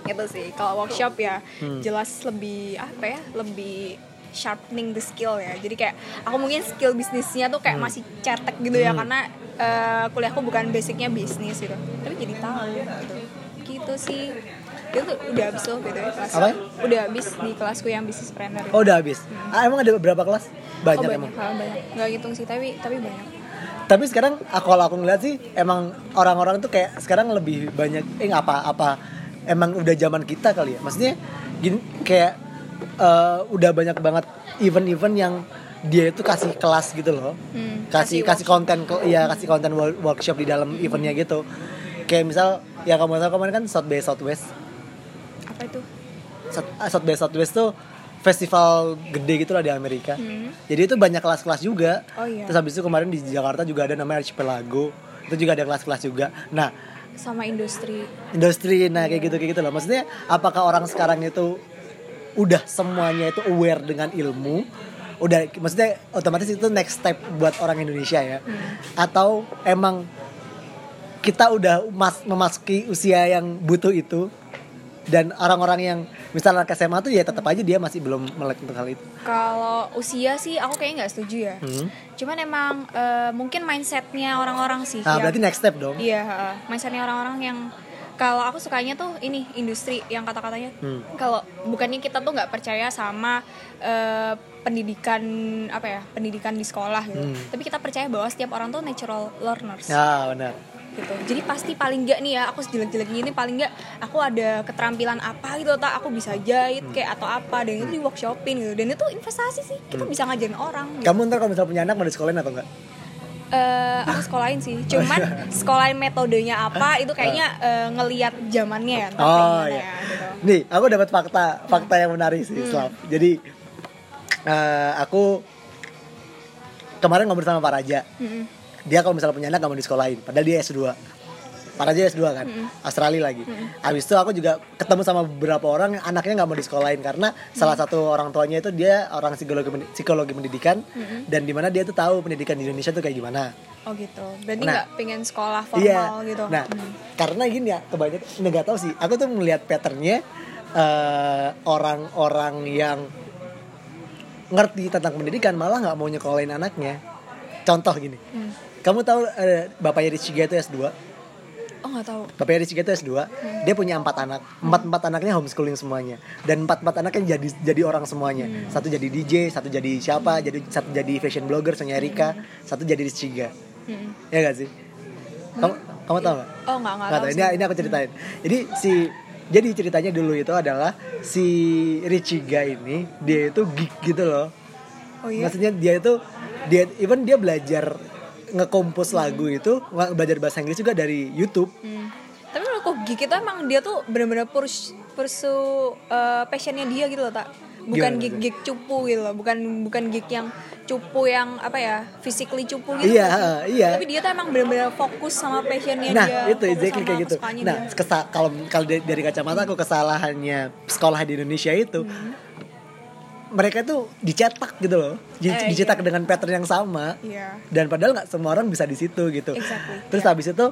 Speaker 2: gitu sih kalau workshop ya
Speaker 1: Hmm.
Speaker 2: jelas lebih apa ya lebih sharpening the skill ya jadi kayak aku mungkin skill bisnisnya tuh kayak
Speaker 1: Hmm.
Speaker 2: masih cetek gitu ya karena eh, kuliahku bukan basicnya bisnis gitu tapi jadi tahu gitu gitu sih itu tuh udah habis loh gitu ya kelas
Speaker 1: Apa ya?
Speaker 2: udah habis di kelasku yang bisnis planner
Speaker 1: oh udah habis ah, emang ada berapa kelas
Speaker 2: Oh,
Speaker 1: banyak
Speaker 2: banyak,
Speaker 1: emang
Speaker 2: hal, banyak. nggak hitung sih tapi tapi banyak
Speaker 1: tapi sekarang aku kalau aku ngeliat sih emang orang-orang tuh kayak sekarang lebih banyak eh apa apa emang udah zaman kita kali ya maksudnya gini kayak eh, udah banyak banget event-event yang dia itu kasih kelas gitu loh
Speaker 2: Hmm,
Speaker 1: kasih kasih konten ke- ya kasih konten wo- workshop di dalam eventnya gitu kayak misal ya kamu tahu kemarin kan South by Southwest
Speaker 2: apa itu
Speaker 1: South ah, South by Southwest tuh festival gede gitu lah di Amerika. Jadi itu banyak kelas-kelas juga.
Speaker 2: Hmm. Oh, iya.
Speaker 1: Terus habis itu kemarin di Jakarta juga ada namanya Archipelago. Itu juga ada kelas-kelas juga. Nah,
Speaker 2: sama industri
Speaker 1: industri nah kayak gitu kayak gitu loh. Maksudnya apakah orang sekarang itu udah semuanya itu aware dengan ilmu? Udah maksudnya otomatis itu next step buat orang Indonesia ya. Atau emang kita udah mas- memasuki usia yang butuh itu dan orang-orang yang misalnya anak SMA tuh ya tetap aja dia masih belum melek untuk hal itu.
Speaker 2: Kalau usia sih aku kayaknya nggak setuju ya. Cuman emang eh, mungkin mindsetnya orang-orang sih.
Speaker 1: Nah,
Speaker 2: yang-
Speaker 1: berarti next step dong.
Speaker 2: Iya, heeh. mindsetnya orang-orang yang kalau aku sukanya tuh ini industri yang kata-katanya kalau bukannya kita tuh nggak percaya sama eh, pendidikan apa ya pendidikan di sekolah gitu, tapi kita percaya bahwa setiap orang tuh natural learners
Speaker 1: Ya, benar.
Speaker 2: gitu jadi pasti paling nggak nih ya aku sejelek-jeleknya ini paling nggak aku ada keterampilan apa gitu tak aku bisa jahit
Speaker 1: Hmm.
Speaker 2: kayak atau apa dan itu di
Speaker 1: Hmm.
Speaker 2: workshopin gitu dan itu investasi sih kita bisa ngajarin orang gitu.
Speaker 1: Kamu ntar kalau misalnya punya anak mau disekolahin atau enggak?
Speaker 2: eh, aku sekolahin sih
Speaker 1: Oh,
Speaker 2: cuman
Speaker 1: iya.
Speaker 2: sekolahin metodenya apa itu kayaknya eh, ngeliat zamannya ya entah
Speaker 1: Ah.
Speaker 2: kayak
Speaker 1: Oh
Speaker 2: gimana
Speaker 1: iya.
Speaker 2: ya, gitu. Hmm.
Speaker 1: Nih, aku dapat fakta fakta yang menarik sih, Islam. Jadi eh, aku kemarin ngobrol sama Pak Raja.
Speaker 2: Mm-mm.
Speaker 1: Dia kalau misalnya punya anak gak mau disekolahin, padahal dia S2. Pak Raja S2 kan,
Speaker 2: Hmm.
Speaker 1: Australia lagi. Habis itu aku juga ketemu sama beberapa orang yang anaknya nggak mau disekolahin karena salah
Speaker 2: Hmm.
Speaker 1: satu orang tuanya itu dia orang psikologi men- psikologi pendidikan
Speaker 2: Hmm.
Speaker 1: dan dimana dia tuh tahu pendidikan di Indonesia tuh kayak gimana.
Speaker 2: oh gitu berarti
Speaker 1: Nah.
Speaker 2: nggak pengen sekolah
Speaker 1: Iya.
Speaker 2: formal gitu
Speaker 1: Nah, karena gini ya, kebanyakan nggak tahu sih. Aku tuh melihat patternnya eh, orang-orang yang ngerti tentang pendidikan malah nggak mau nyekolahin anaknya. Contoh gini,
Speaker 2: Hmm.
Speaker 1: kamu tahu eh, bapaknya Riciga itu S2,
Speaker 2: oh nggak tahu
Speaker 1: bapaknya Riciga itu S2,
Speaker 2: Hmm.
Speaker 1: dia punya empat anak, empat empat anaknya homeschooling semuanya, dan empat empat anaknya jadi jadi orang semuanya,
Speaker 2: Hmm.
Speaker 1: satu jadi DJ, satu jadi siapa, jadi satu jadi fashion blogger, Sonya Erika,
Speaker 2: Hmm.
Speaker 1: satu jadi Riciga,
Speaker 2: Mm-mm.
Speaker 1: ya gak sih? Kamu kamu tahu nggak?
Speaker 2: oh nggak nggak
Speaker 1: Nggak
Speaker 2: tahu
Speaker 1: tahu,
Speaker 2: sih.
Speaker 1: ini ini aku ceritain. Jadi si jadi ceritanya dulu itu adalah si Richiga ini dia itu geek gitu loh.
Speaker 2: oh iya
Speaker 1: Maksudnya dia itu dia even dia belajar ngekompos lagu itu nge- belajar bahasa Inggris juga dari YouTube.
Speaker 2: Hmm. tapi menurut aku gigi itu emang dia tuh bener-bener purs pursue eh, passionnya dia gitu loh tak
Speaker 1: Gimana
Speaker 2: bukan
Speaker 1: maksudnya?
Speaker 2: gig-gig cupu gitu loh bukan bukan gig yang cupu yang apa ya physically cupu gitu
Speaker 1: Iya,
Speaker 2: nggak sih?
Speaker 1: iya.
Speaker 2: tapi dia tuh emang bener-bener fokus sama passionnya
Speaker 1: Nah,
Speaker 2: dia
Speaker 1: itu
Speaker 2: Iya, fokus
Speaker 1: exactly
Speaker 2: sama
Speaker 1: kayak gitu.
Speaker 2: kesukaannya
Speaker 1: Nah,
Speaker 2: dia.
Speaker 1: kesa- kalau kalau dari, dari kacamata aku kesalahannya sekolah di Indonesia itu
Speaker 2: Hmm.
Speaker 1: mereka tuh dicetak gitu loh. Di-
Speaker 2: Eh,
Speaker 1: dicetak dengan pattern yang sama.
Speaker 2: iya
Speaker 1: dan padahal nggak semua orang bisa di situ gitu.
Speaker 2: Exactly, iya.
Speaker 1: Terus habis itu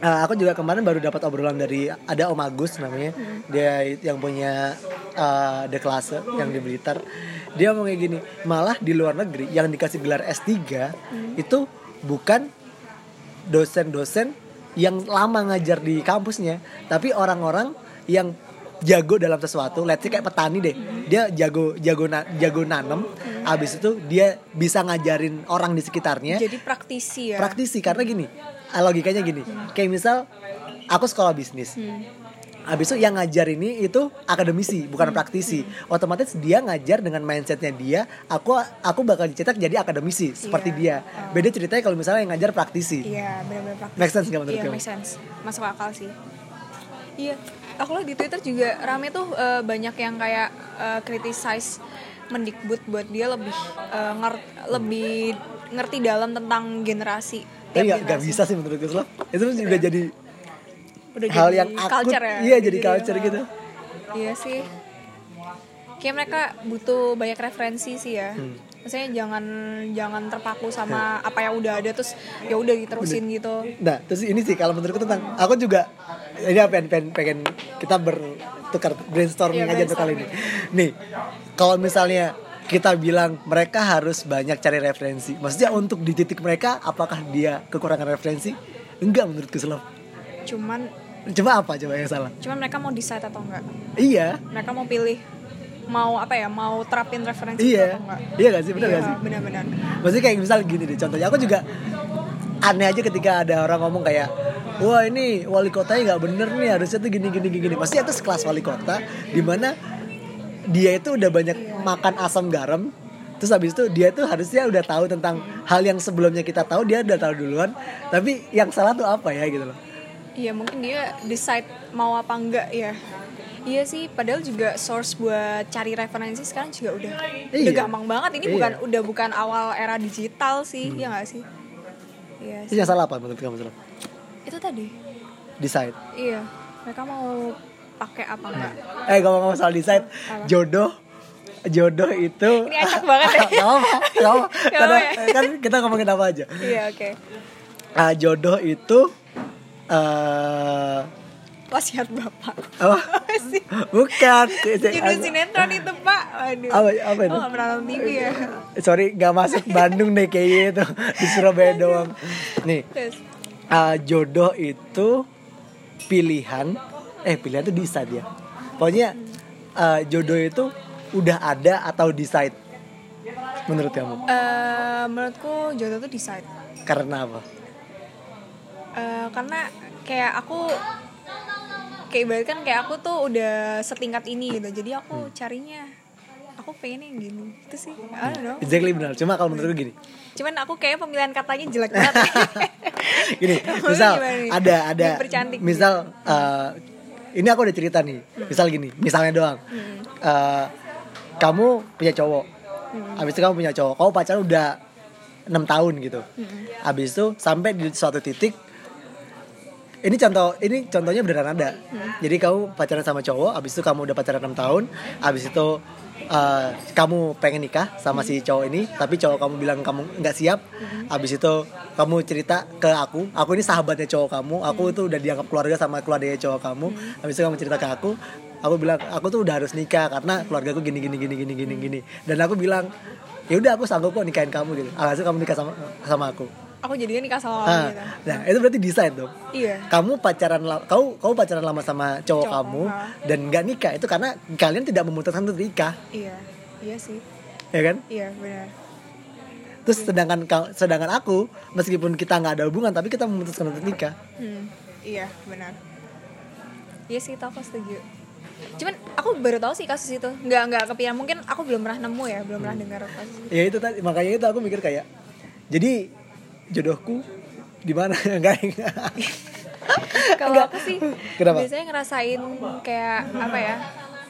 Speaker 1: uh, aku juga kemarin baru dapat obrolan dari ada Om Agus namanya
Speaker 2: Hmm.
Speaker 1: dia yang punya uh, The Class yang di Blitar. Dia ngomong kayak gini, malah di luar negeri yang dikasih gelar S3
Speaker 2: Hmm.
Speaker 1: itu bukan dosen-dosen yang lama ngajar di kampusnya, tapi orang-orang yang jago dalam sesuatu, let's say kayak petani deh. Dia jago jago na- jago nanem, habis itu dia bisa ngajarin orang di sekitarnya.
Speaker 2: jadi praktisi ya
Speaker 1: Praktisi karena gini, ah, logikanya gini. Kayak misal aku sekolah bisnis. Habis itu yang ngajar ini itu akademisi, bukan praktisi. Otomatis dia ngajar dengan mindsetnya dia, aku aku bakal dicetak jadi akademisi seperti dia. Beda ceritanya kalau misalnya yang ngajar praktisi.
Speaker 2: iya bener-bener praktisi
Speaker 1: Make sense nggak menurut
Speaker 2: iya
Speaker 1: kamu?
Speaker 2: make sense masuk akal sih iya aku lihat di twitter juga rame tuh eh, banyak yang kayak eh, criticize mendikbud buat dia lebih eh, ngerti lebih ngerti dalam tentang generasi
Speaker 1: Tapi
Speaker 2: Tiap
Speaker 1: nggak nggak
Speaker 2: generasi.
Speaker 1: bisa sih menurut gue Slav. Itu udah jadi
Speaker 2: Udah
Speaker 1: hal
Speaker 2: jadi
Speaker 1: yang akut.
Speaker 2: culture ya
Speaker 1: Iya
Speaker 2: udah
Speaker 1: jadi culture
Speaker 2: hal-
Speaker 1: gitu.
Speaker 2: iya sih kayak mereka butuh banyak referensi sih ya
Speaker 1: Hmm.
Speaker 2: maksudnya jangan jangan terpaku sama apa yang udah ada terus ya udah diterusin gitu
Speaker 1: Nah terus ini sih kalau menurutku tentang aku juga ini apa pengen, pengen, pengen kita bertukar brainstorming
Speaker 2: Iya,
Speaker 1: aja untuk kali ini. Nih kalau misalnya kita bilang mereka harus banyak cari referensi. Maksudnya untuk di titik mereka apakah dia kekurangan referensi? Enggak menurutku Slav.
Speaker 2: cuman
Speaker 1: Coba apa coba yang salah?
Speaker 2: cuman mereka mau decide atau enggak
Speaker 1: Iya,
Speaker 2: mereka mau pilih mau apa ya mau terapin referensi itu
Speaker 1: iya,
Speaker 2: atau enggak
Speaker 1: iya gak sih benar
Speaker 2: Iya,
Speaker 1: gak sih?
Speaker 2: benar-benar
Speaker 1: Maksudnya kayak misal gini deh contohnya aku juga aneh aja ketika ada orang ngomong kayak wah ini wali kotanya nggak bener nih harusnya tuh gini gini gini gini." Maksudnya itu sekelas wali kota di mana dia itu udah banyak makan asam garam terus habis itu dia tuh harusnya udah tahu tentang hal yang sebelumnya kita tahu dia udah tahu duluan tapi yang salah tuh apa ya gitu loh
Speaker 2: iya mungkin dia decide mau apa enggak ya Iya sih, padahal juga source buat cari referensi sekarang juga udah udah
Speaker 1: Iya.
Speaker 2: gampang banget. Ini
Speaker 1: Iya. Hmm.
Speaker 2: bukan udah bukan awal era digital sih, ya nggak sih? Iya.
Speaker 1: terus
Speaker 2: sih.
Speaker 1: yang salah apa menurut kamu Sel?
Speaker 2: Itu tadi.
Speaker 1: decide
Speaker 2: Iya. Mereka mau pakai apa enggak?
Speaker 1: eh ngomong-ngomong soal decide jodoh jodoh itu
Speaker 2: Ini acak banget
Speaker 1: (laughs)
Speaker 2: ya.
Speaker 1: Gak apa-apa, gak
Speaker 2: (laughs)
Speaker 1: apa-apa.
Speaker 2: Gak apa-apa
Speaker 1: Karena- kan kita ngomongin apa aja.
Speaker 2: Iya, oke.
Speaker 1: Ah, jodoh itu eh
Speaker 2: Wasiat Bapak.
Speaker 1: apa?
Speaker 2: (laughs) Apa sih?
Speaker 1: Bukan.
Speaker 2: Judul sinetron itu, Pak. Aduh.
Speaker 1: Apa- apa itu?
Speaker 2: Oh, nggak pernah nonton TV ya.
Speaker 1: Sorry, gak masuk Bandung deh kayaknya itu di Surabaya doang. Nih,
Speaker 2: Terus.
Speaker 1: ah, jodoh itu pilihan. Eh, pilihan itu decide ya. Pokoknya ah, jodoh itu udah ada atau decide. Menurut kamu?
Speaker 2: eh, menurutku jodoh tuh decide.
Speaker 1: Karena apa?
Speaker 2: Eh, karena kayak aku
Speaker 1: Hmm.
Speaker 2: kayak ibarat kan kayak aku tuh udah setingkat ini gitu jadi aku carinya aku pengen yang gini itu sih I
Speaker 1: Hmm.
Speaker 2: don't know
Speaker 1: Exactly benar. Cuma kalau menurut gue gini.
Speaker 2: cuman aku kayak pemilihan katanya jelek
Speaker 1: (laughs)
Speaker 2: banget (laughs)
Speaker 1: Gini,
Speaker 2: Lu
Speaker 1: misal
Speaker 2: gimana nih?
Speaker 1: ada ada
Speaker 2: Dipercantik gitu. Hmm.
Speaker 1: misal eh, ini aku udah cerita nih. Misal gini, misalnya doang. Eh, kamu punya cowok.
Speaker 2: Hmm.
Speaker 1: Habis itu kamu punya cowok. Kamu pacaran udah 6 tahun gitu.
Speaker 2: Hmm.
Speaker 1: Habis itu sampai di suatu titik ini contoh ini contohnya beneran ada jadi kamu pacaran sama cowok abis itu kamu udah pacaran 6 tahun abis itu eh, kamu pengen nikah sama si cowok ini tapi cowok kamu bilang kamu nggak siap abis itu kamu cerita ke aku aku ini sahabatnya cowok kamu aku tuh udah dianggap keluarga sama keluarganya cowok kamu abis itu kamu cerita ke aku aku bilang aku tuh udah harus nikah karena keluarga aku gini gini gini gini gini gini dan aku bilang ya udah aku sanggup kok nikahin kamu gitu alhasil kamu nikah sama sama aku
Speaker 2: aku jadinya nikah sama orang
Speaker 1: Ah,
Speaker 2: gitu
Speaker 1: nah itu berarti desain dong
Speaker 2: iya
Speaker 1: kamu pacaran la- kau kau pacaran lama sama cowok
Speaker 2: Cowok,
Speaker 1: kamu
Speaker 2: ah.
Speaker 1: dan nggak nikah itu karena kalian tidak memutuskan untuk nikah
Speaker 2: iya iya sih
Speaker 1: ya kan
Speaker 2: iya benar
Speaker 1: terus sedangkan kau- sedangkan aku meskipun kita nggak ada hubungan tapi kita memutuskan untuk nikah
Speaker 2: Hmm, iya benar. Iya sih, itu aku setuju. Cuman aku baru tahu sih kasus itu. Nggak nggak kepikiran mungkin aku belum pernah nemu ya, belum pernah dengar
Speaker 1: (laughs)
Speaker 2: kasus. itu.
Speaker 1: ya itu tadi makanya itu aku mikir kayak jadi jodohku di mana (laughs) enggak
Speaker 2: Kalau aku sih
Speaker 1: Kenapa?
Speaker 2: biasanya ngerasain kayak apa ya?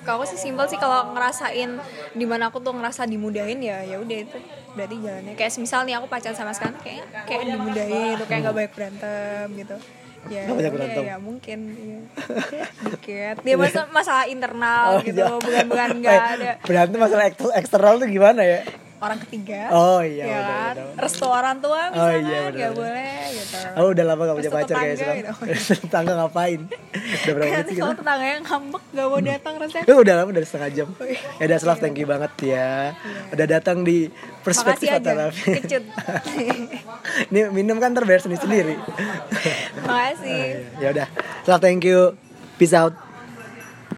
Speaker 2: Kalau aku sih simpel sih kalau ngerasain dimana aku tuh ngerasa dimudahin ya ya udah itu berarti jalannya kayak semisal nih aku pacaran sama sekarang kayak kayak dimudahin itu kayak nggak banyak berantem gitu ya
Speaker 1: Hmm. Nggak banyak
Speaker 2: ya,
Speaker 1: berantem.
Speaker 2: ya mungkin
Speaker 1: (laughs)
Speaker 2: iya. dikit dia masalah, masalah internal gitu
Speaker 1: iya.
Speaker 2: bukan bukan
Speaker 1: (laughs)
Speaker 2: nggak
Speaker 1: Eh,
Speaker 2: ada
Speaker 1: berantem masalah ekster- eksternal tuh gimana ya
Speaker 2: orang ketiga
Speaker 1: Oh, iya,
Speaker 2: ya
Speaker 1: benar,
Speaker 2: kan?
Speaker 1: benar, benar.
Speaker 2: restu orang tua
Speaker 1: Oh,
Speaker 2: misalkan
Speaker 1: iya, benar,
Speaker 2: nggak
Speaker 1: benar.
Speaker 2: boleh gitu
Speaker 1: aku Oh, udah lama gak punya
Speaker 2: Terus
Speaker 1: pacar kayak
Speaker 2: tetangga gitu. Kan
Speaker 1: sekarang (laughs) tetangga ngapain udah berapa menit
Speaker 2: nanti
Speaker 1: sih kita
Speaker 2: kalau tetangga yang ngambek gak mau datang rasanya
Speaker 1: Eh, udah lama dari setengah jam. Ya udah Slav, thank you banget ya. Udah datang di perspektif
Speaker 2: makasih aja
Speaker 1: terapi.
Speaker 2: kecut
Speaker 1: (laughs) Ini minum kan terbayar sendiri sendiri. iya.
Speaker 2: makasih
Speaker 1: ya udah, Slav, thank you. Peace out.